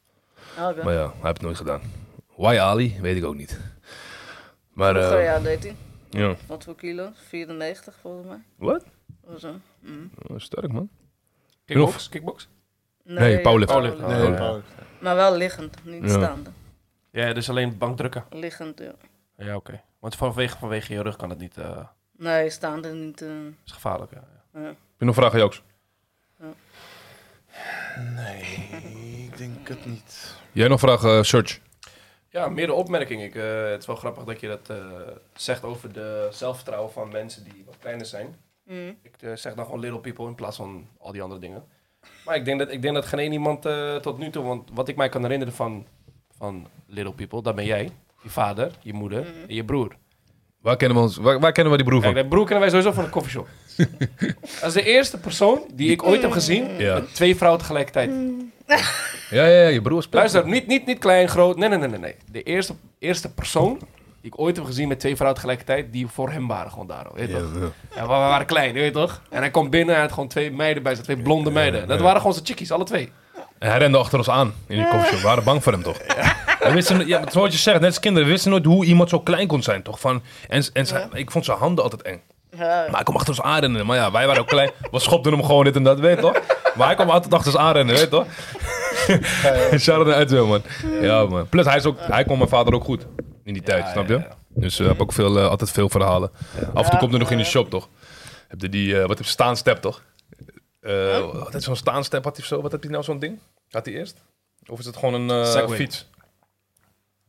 Ah, Oké.
Maar ja, hij heeft het nooit gedaan. Why Ali? Weet ik ook niet. Maar, eh,
Vroeger, ja, deed hij.
ja.
Wat voor kilo? 94 volgens mij.
Wat?
Of zo. Mm.
Oh, Sterk, man.
Kickbox? Kickbox?
Nee, powerlifting.
powerlifting.
Nee,
Nee,
ja.
Paul.
Maar wel liggend, niet
Ja.
staande.
Ja, dus alleen bankdrukken.
Liggend, ja.
Ja, oké. Want vanwege, vanwege je rug kan het niet. eh, Dat
Nee, staande niet. eh,
is gevaarlijk. ja.
Heb je nog vragen, Jooks?
Nee, ik denk het niet.
Jij nog vragen, eh, Search?
Ja, meer de opmerking. Ik, eh, het is wel grappig dat je dat eh, zegt over de zelfvertrouwen van mensen die wat kleiner zijn.
mm.
Ik eh, zeg dan gewoon little people in plaats van al die andere dingen. Maar ik denk dat, ik denk dat geen één iemand eh, tot nu toe, want wat ik mij kan herinneren van, van little people, dat ben jij, je vader, je moeder en je broer.
Waar kennen we, ons, waar, waar kennen we die broer
Kijk,
van?
dat broer kennen wij sowieso van de koffieshop. dat is de eerste persoon die ik ooit heb gezien
Ja.
met twee vrouwen tegelijkertijd.
Ja, ja, ja, je broer is
Luister, niet, niet, niet klein, groot. Nee, nee, nee, nee. nee. De eerste, eerste persoon die ik ooit heb gezien met twee vrouwen tegelijkertijd, die voor hem waren gewoon daar. al, Weet je toch? Ja, we we waren klein, weet je toch? En hij kwam binnen en hij had gewoon twee meiden bij zich, twee blonde meiden. Dat waren gewoon zijn chickies, alle twee.
En hij rende achter ons aan in die koffieshop. We waren bang voor hem, toch? We wisten, ja, maar zoals je zegt, net als kinderen, we wisten nooit hoe iemand zo klein kon zijn, toch? Van, en en zijn- ik vond zijn handen altijd eng.
ja.
Maar hij kwam achter ons aanrennen. Maar ja, wij waren ook klein. We schopten hem gewoon dit en dat, weet je toch? Maar hij kwam altijd achter ons aanrennen, weet je toch? Shout-out naar Edwin, man. Ja, man. Plus, hij, is ook, hij kon mijn vader ook goed in die tijd,
Ja,
snap je?
ja, ja.
Dus eh, heb ook veel, eh, altijd veel verhalen. Af en toe
Ja,
komt er nog in de
ja.
shop, toch? Heb je die, eh, wat heb je, staanstep, toch? Eh Wat is zo'n staanstep? Had hij zo, wat heb je nou zo'n ding? Had hij eerst? Of is het gewoon een eh,
Segway.
fiets?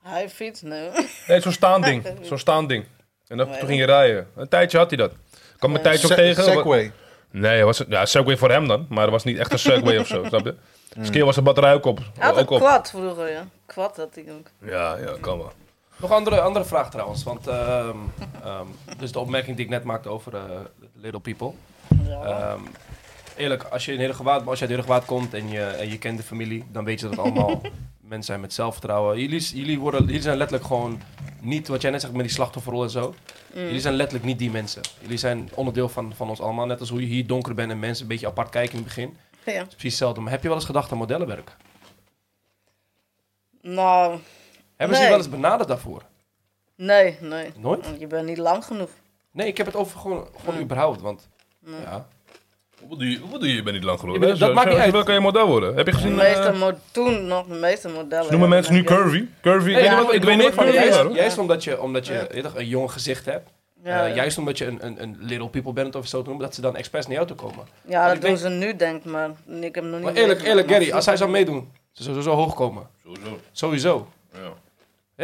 Hij fiets, nee.
Nee, zo'n staanding. Zo'n staanding. En dan,
Nee.
toen ging je rijden. Een tijdje had hij dat. Kwam een tijdje ook
Se-
tegen.
Segway.
Nee, het was, ja, Segway voor hem dan. Maar het was niet echt een Segway of zo, snap je? Dus keer was de batterij ook op.
Hij had een
ook op.
kwad vroeger, ja. Kwad had ik ook.
Ja, ja, kan wel.
Nog een andere, andere vraag trouwens, want ehm, ehm, dus de opmerking die ik net maakte over eh, little people.
Ja.
Ehm, eerlijk, als je in Heerlijke als je uit Heerlijke komt en je, en je kent de familie, dan weet je dat het allemaal mensen zijn met zelfvertrouwen. Jullie, s- jullie, worden, jullie zijn letterlijk gewoon niet, wat jij net zegt met die slachtofferrol en zo. Jullie zijn letterlijk niet die mensen. Jullie zijn onderdeel van, van ons allemaal. Net als hoe je hier donker bent en mensen een beetje apart kijken in het begin. Het
ja.
is precies hetzelfde. Maar heb je wel eens gedacht aan modellenwerk?
Nou,
Hebben ze je
Nee.
wel eens benaderd daarvoor?
nee, nee.
Nooit?
Want Je bent niet lang genoeg.
Nee, ik heb het over gewoon, gewoon überhaupt, want... Ja.
Hoe doe je, hoe doe je, je bent niet lang
Ik
geloof
bedoel, dat maakt niet uit.
Wel kan je model worden. Heb je
De
gezien?
meeste
eh,
mo- toen nog de meeste modellen.
ze noemen
ja,
mensen nu
dan heb je-
curvy. Curvy.
Nee,
ik weet
ja,
niet wat, ik weet
bedoel
niet van
van
wie
juist,
waren.
juist omdat je, omdat je weet je toch, een jong gezicht hebt.
Ja,
Eh,
ja.
Juist omdat je een, een, een little people bent of zo te noemen, dat ze dan expres naar jou toe komen.
Ja,
Ik
dat doen
denk-
ze nu, denk ik, maar ik heb nog niet...
Maar eerlijk,
meegemaakt,
eerlijk,
maar
Gary, als hij zou meedoen, ze zou sowieso hoog komen. Sowieso.
Ja.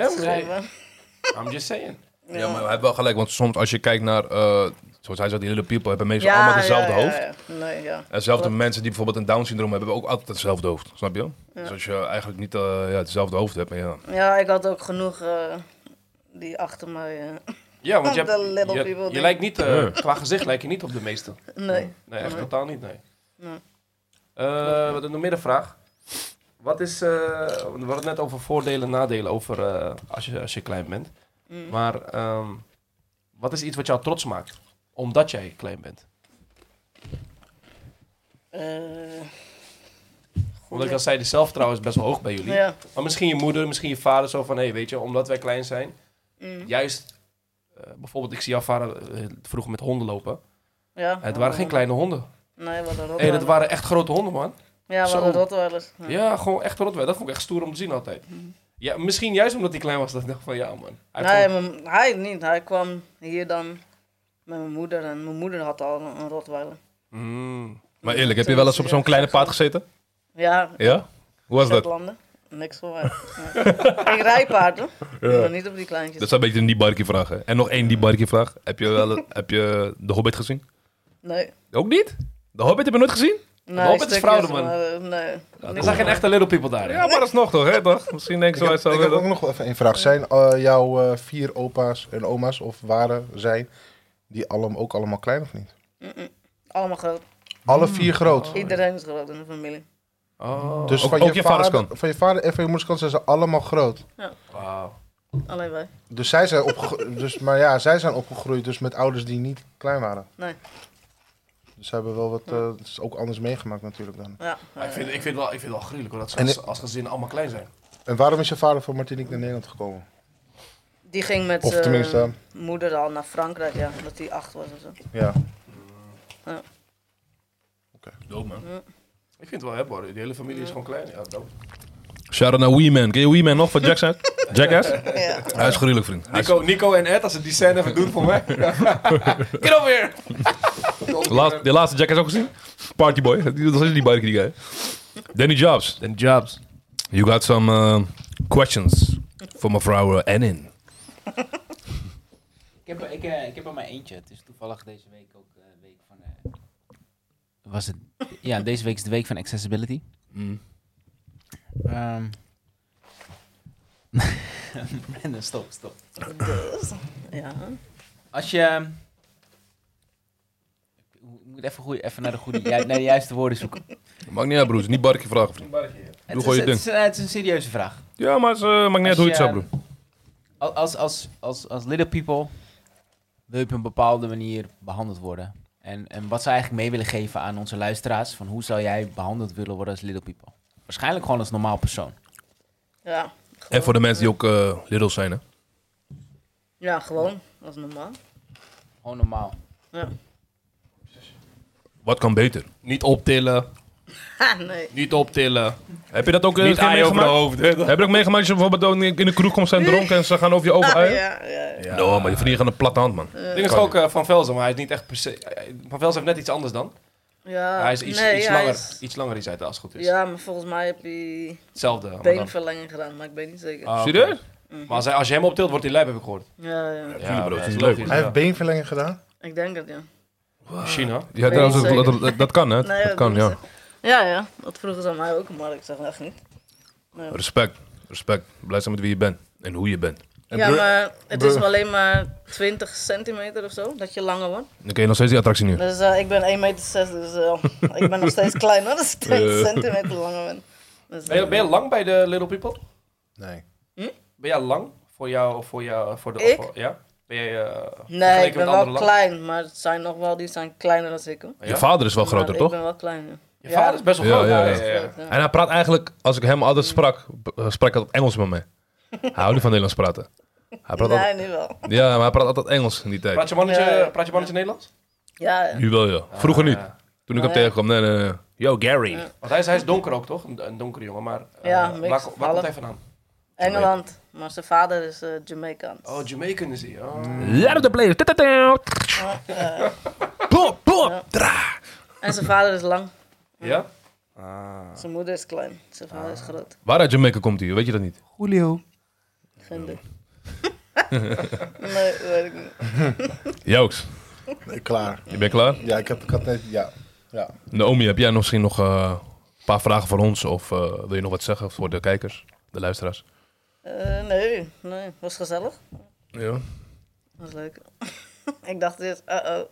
Ja,
schrijven.
maar- I'm just saying.
Ja, maar hij heeft wel gelijk. Want soms als je kijkt naar, eh, zoals hij zei, die hele people hebben meestal
Ja,
allemaal hetzelfde
ja, ja,
hoofd.
ja. Nee, ja.
En zelfde mensen die bijvoorbeeld een Down-syndroom hebben, hebben ook altijd hetzelfde hoofd. Snap je? Dus als je eigenlijk niet eh, ja, hetzelfde hoofd hebt, maar ja.
Ja, ik had ook genoeg eh, die achter mij... eh,
Ja, want je,
The
hebt-
little
je-
people
je
ding.
lijkt niet, eh,
Ja.
qua gezicht lijkt je niet op de meeste.
nee.
Nee, echt
Nee.
totaal niet, nee.
Nee.
Eh, wat een middenvraag. Wat is, eh, we hadden het net over voordelen en nadelen over, eh, als, je, als je klein bent.
Mm.
Maar ehm, wat is iets wat jou trots maakt? Omdat jij klein bent.
Eh,
Omdat ik al zei, de zelfvertrouwen is best wel hoog bij jullie.
ja.
Maar misschien je moeder, misschien je vader zo van... Hé, hey, weet je, omdat wij klein zijn...
Mm.
Juist, eh, bijvoorbeeld, ik zie jouw vader eh, vroeger met honden lopen.
ja.
Het waren geen kleine honden.
Nee, wat een
Hé, dat waren echt grote honden, man.
Ja,
Zo.
wat een rotweilers. Ja. Mhm.
Ja, gewoon echt rotweg. Dat vond ik echt stoer om te zien altijd. Ja, misschien juist omdat hij klein was, dat ik dacht van ja man. Hij
Nee,
vond-
mijn- hij niet. Hij kwam hier dan met mijn moeder en mijn moeder had al een, een rotweiler.
Mm.
Maar eerlijk, heb je wel eens op zo'n kleine paard gezeten?
Ja,
Ja? Hoe was dat?
Zetlanden. Niks voor mij. Nee. ik rij paarden, maar niet op die kleintjes.
Dat zou een beetje een die vraag. Hè? En nog één die vraag. Heb je, wel, heb je de Hobbit gezien?
Nee.
Ook niet? De Hobbit heb je nooit gezien?
Nee,
Hobbit is
stukjes,
fraude, man.
maar, eh, nee.
Er zijn geen echte little people daar.
Ja, maar dat is nog toch, hè? Toch? Misschien denken ze
Ik
wij
heb,
zo.
ik
hè,
heb ook
toch?
nog wel even een vraag. Zijn eh, jouw eh, vier opa's en oma's, of waren, zijn, die allemaal ook allemaal klein of niet?
Allemaal groot.
Alle vier groot.
Iedereen is groot in de familie.
Oh,
Dus
Ook-
van,
ook
je
je vaders
vader,
kant?
van je vader en van je moeders kant zijn ze allemaal groot.
wauw.
Alleen wij.
Dus zij zijn opge- dus, maar ja, zij zijn opgegroeid dus met ouders die niet klein waren.
Nee.
Dus ze hebben wel wat, eh, het is ook anders meegemaakt natuurlijk dan.
Ja.
Maar ik, vind, ik, vind wel, ik vind wel gruwelijk hoor, dat ze
En-
als, als gezin allemaal klein zijn.
En waarom is je vader van Martinique naar Nederland gekomen?
Die ging met
Of tenminste-
zijn moeder al naar Frankrijk, ja, omdat hij acht was of zo.
Ja.
Dood, man. Ik vind het wel hebbaar. Die hele familie is gewoon klein. Ja, dood.
Shout-out naar Weeman. Ken je Weeman nog van Jackass? Jackass?
Ja.
Hij is gruwelijk, vriend. Hij is-
Nico, Nico en Ed, als ze die scène even doen voor mij. Get over here!
Laat, de laatste Jackass ook gezien? Partyboy. Die- Dat is die bike die guy. Danny Jobs.
En Jobs.
You got some uh, questions for mevrouw eh, Annin.
Ik heb, ik, eh, ik heb er maar eentje. Het is toevallig deze week ook eh week van. eh, was het? Ja, deze week is de week van accessibility. Ehm Brandon, stop, stop.
Dus, ja.
Als je. ehm, Ik moet even, goeie, even naar, de goede, ju- naar de juiste woorden zoeken.
Maakt niet uit, broer. Het is Niet barkie vragen, vriend.
Het is,
gewoon je
het,
ding.
is, eh, het is een serieuze vraag.
Ja, maar het is, eh, maakt niet uit hoe je het
Als
zegt,
je-
broer.
Al- Als, als, als, als little people wil je op een bepaalde manier behandeld worden. En, en wat zou eigenlijk mee willen geven aan onze luisteraars, van hoe zou jij behandeld willen worden als little people? Waarschijnlijk gewoon als normaal persoon.
ja.
En voor de mensen die ook eh little zijn, hè.
Ja, gewoon. Dat is normaal.
Gewoon normaal.
Ja.
Wat kan beter?
Niet optillen.
Ha, nee.
Niet optillen.
Heb je dat ook eh,
Niet
een keer
aan je over de
meegemaakt?
hoofd. hè?
Heb je ook meegemaakt dat je bijvoorbeeld ook in de kroeg komt zijn dronken en ze gaan over je ogen
Ah,
uit?
ja, ja, ja.
No, maar die vrienden gaan een platte hand, man.
Het ding is ook eh, Van Velzen, maar hij is niet echt per se... eh, Van Velzen heeft net iets anders dan.
Ja,
hij is iets,
Ah, nee,
iets,
hij
langer,
is-
iets langer is hij, als het goed is.
Ja, maar volgens mij heb hij
Hetzelfde. maar dan-
beenverlenging gedaan, maar ik weet niet zeker.
Ah, oké.
Serieus?
Maar als, hij, als je hem optilt, wordt hij lijp, heb ik gehoord.
Ja, ja.
tuurlijk, bro,
maar
dat is leuk,
ja, logisch,
Hij
ja.
heeft beenverlenging gedaan.
Ik denk het, ja.
China.
Ja,
Nee,
dat, dat-
zeker.
dat, dat- dat kan, hè.
Nee,
dat kan,
doen
ja.
ze. Ja, ja. Dat vroegen ze aan mij ook, maar ik zeg echt niet.
Respect. Respect. Blij zijn met wie je bent. En hoe je bent.
En
ja,
Bru-
maar het
Bru-
is wel alleen maar 20 centimeter of zo, dat je langer wordt.
Dan kun je nog steeds die attractie nu.
Dus eh, ik ben 1,6 meter, zes, dus eh, ik ben nog steeds klein hoor, dus ik 20
Eh.
centimeter langer ben. Dus,
Ben
eh,
je, ben je lang bij de Little People?
Nee.
Ben jij lang voor jou, voor jou, voor de...
Hm? Ik?
voor- ja? Ben jij... eh, vergeleken
nee, ik ben
met
wel
anderen lang?
klein, maar het zijn nog wel, die zijn kleiner dan ik hoor.
Je
Ja?
vader is wel groter,
Maar
toch?
Ik ben wel klein, ja.
Je vader is best wel
Ja,
groot.
ja,
Ja,
ja.
ja, ja.
En hij praat eigenlijk, als ik hem altijd sprak, b- eh, sprak hij altijd Engels met mij. Hij houdt niet van Nederlands praten. Hij praat
Nee,
altijd,
nu wel.
ja, maar hij praat altijd Engels in die tijd.
Praat je mannetje,
Ja, ja.
Praat je mannetje Nederlands?
Ja, ja.
Nu wel, ja. Vroeger
Ah,
niet.
ja.
Toen ik
Ah,
hem
ja.
tegenkwam, nee, nee, nee. Yo, Gary.
Ja.
Want hij is, hij is donker ook, toch? Een, een donkere jongen, maar... eh,
Ja,
waar,
mix,
waar komt
half.
hij vandaan?
Engeland, maar zijn vader is eh Jamaican.
Oh, Jamaican is hij. Oh.
Let op de players. Ta-ta-ta. Boom, boom. Dra.
En zijn vader is lang,
Ja? Ah.
zijn moeder is klein, zijn vader is groot.
Waar uit Jamaica komt hij? Weet je dat niet?
Julio.
Geen idee. nee, weet ik niet.
Jooks,
Nee, klaar.
je bent klaar?
Ja, ik, heb, ik had net... Ja. Ja.
Naomi, heb jij nog misschien nog eh, een paar vragen voor ons? Of eh, wil je nog wat zeggen voor de kijkers, de luisteraars?
Eh, nee, nee. Was gezellig.
Ja.
Was leuk. ik dacht eerst, uh-oh.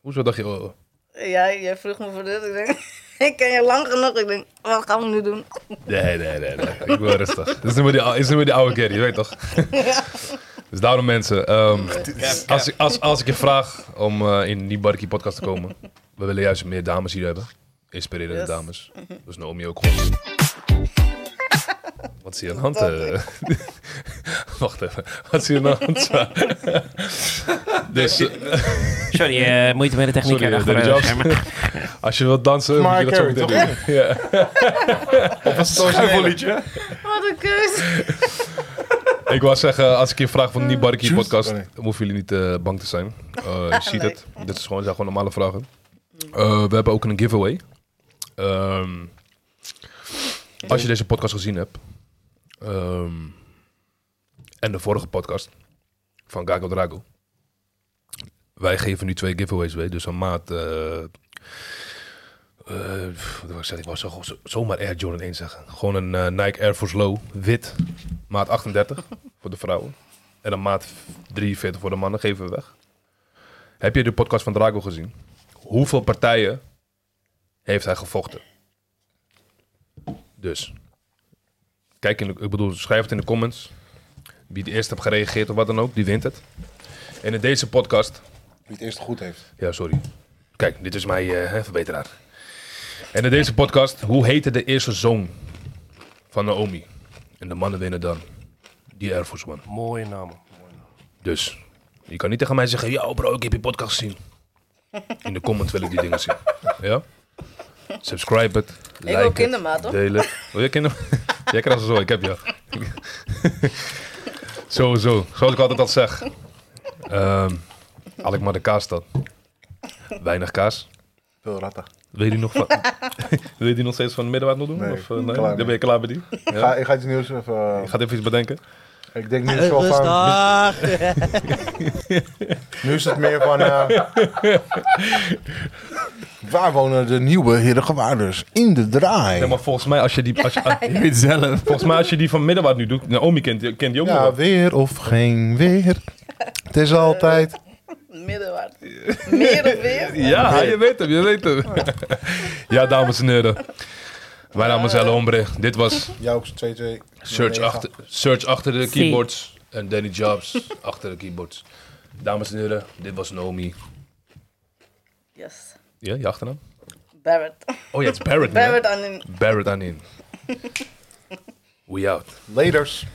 Hoezo dacht je... oh,
Jij, jij vroeg me voor dit. Ik denk, ik ken je lang genoeg. Ik denk, wat gaan we nu doen?
Nee, nee, nee, nee. Ik ben rustig. Dit is nu weer die, ou- dit is nu weer die oude kerry, je weet toch? Dus daarom mensen, ehm, als, ik, als, als ik je vraag om eh, in die Barkie podcast te komen, we willen juist meer dames hier hebben. Inspirerende
Yes.
dames. Dus Naomi ook gewoon. Wat zie je aan de hand? eh? Wacht even, wat zie je aan de hand? dus, eh,
Sorry, eh moeite met de techniek.
Sorry,
hè,
eh,
daar
Danny
gewoon,
Jobs.
eh, maar-
als je wilt dansen, moet je dat zo
Mariah
meteen
Carey,
doen. Ja.
Schuifelliedje.
Wat een keus.
Ik wou zeggen, als ik je vraag van die Barkie
Juice?
podcast,
Oh, nee.
dan hoeven jullie niet eh, bang te zijn. Eh, je ziet
Leuk.
het. Dit is gewoon, zijn gewoon normale vragen. Eh, we hebben ook een giveaway. Ehm, als je deze podcast gezien hebt, ehm, en de vorige podcast van Gago Drago, wij geven nu twee giveaways mee. Dus een maat, eh, eh, pff, wat wou ik zeggen? ik wou zo, zo- zomaar Air Jordan 1 zeggen. Gewoon een eh, Nike Air Force Low, wit, maat 38 voor de vrouwen. En een maat 43 voor de mannen geven we weg. Heb je de podcast van Drago gezien? Hoeveel partijen heeft hij gevochten? Dus, kijk in de, ik bedoel, schrijf het in de comments. Wie het eerst hebt gereageerd of wat dan ook, die wint het. En in deze podcast
Wie het eerst goed heeft.
ja, sorry. Kijk, dit is mijn eh, verbeteraar. En in deze podcast, hoe heette de eerste zoon van Naomi? En de mannen winnen dan. Die Air Force One.
Mooie naam.
Dus, je kan niet tegen mij zeggen, yo bro, ik heb je podcast gezien. In de comments wil ik die dingen zien. Ja? Subscribe het.
wil
like het,
kindermaat, hoor.
Deel het. Wil jij kinder? jij krijgt ze zo, ik heb je. Sowieso, zoals ik altijd al zeg. Ehm Alkmaar de kaas dan. Weinig kaas.
Veel ratten.
Weet u nog, van, weet u nog steeds van middenwaard nog doen?
Nee,
of, eh, nee?
klaar
Dan
mee.
ben je klaar met die?
Ik, ga, ik ga iets nieuws even... eh,
Ik ga even iets bedenken.
Ik denk nu is het wel van... Nu is het meer van... eh, Waar wonen de nieuwe herengewaarders? In de draai.
Nee, maar volgens mij als je die... Als je, weet zelf. Volgens mij als je die van middenwaard nu doet... Naomi kent, die- kent die ook nog
Ja,
wel.
weer of geen weer. Het is altijd...
Middenwaard. Meer of weer?
Ja, je weet hem, je weet hem. ja, dames en heren. Mijn naam is Elle Ombre. Dit was
Jou ook 2-2.
Search achter, search achter de
Zie.
keyboards. En Danny Jobs achter de keyboards. Dames en heren, dit was Naomi.
Yes.
Ja, je achternaam?
Barrett.
Oh ja, het is Barrett. man.
Barrett aan in.
Barrett Anin. We out.
Laters.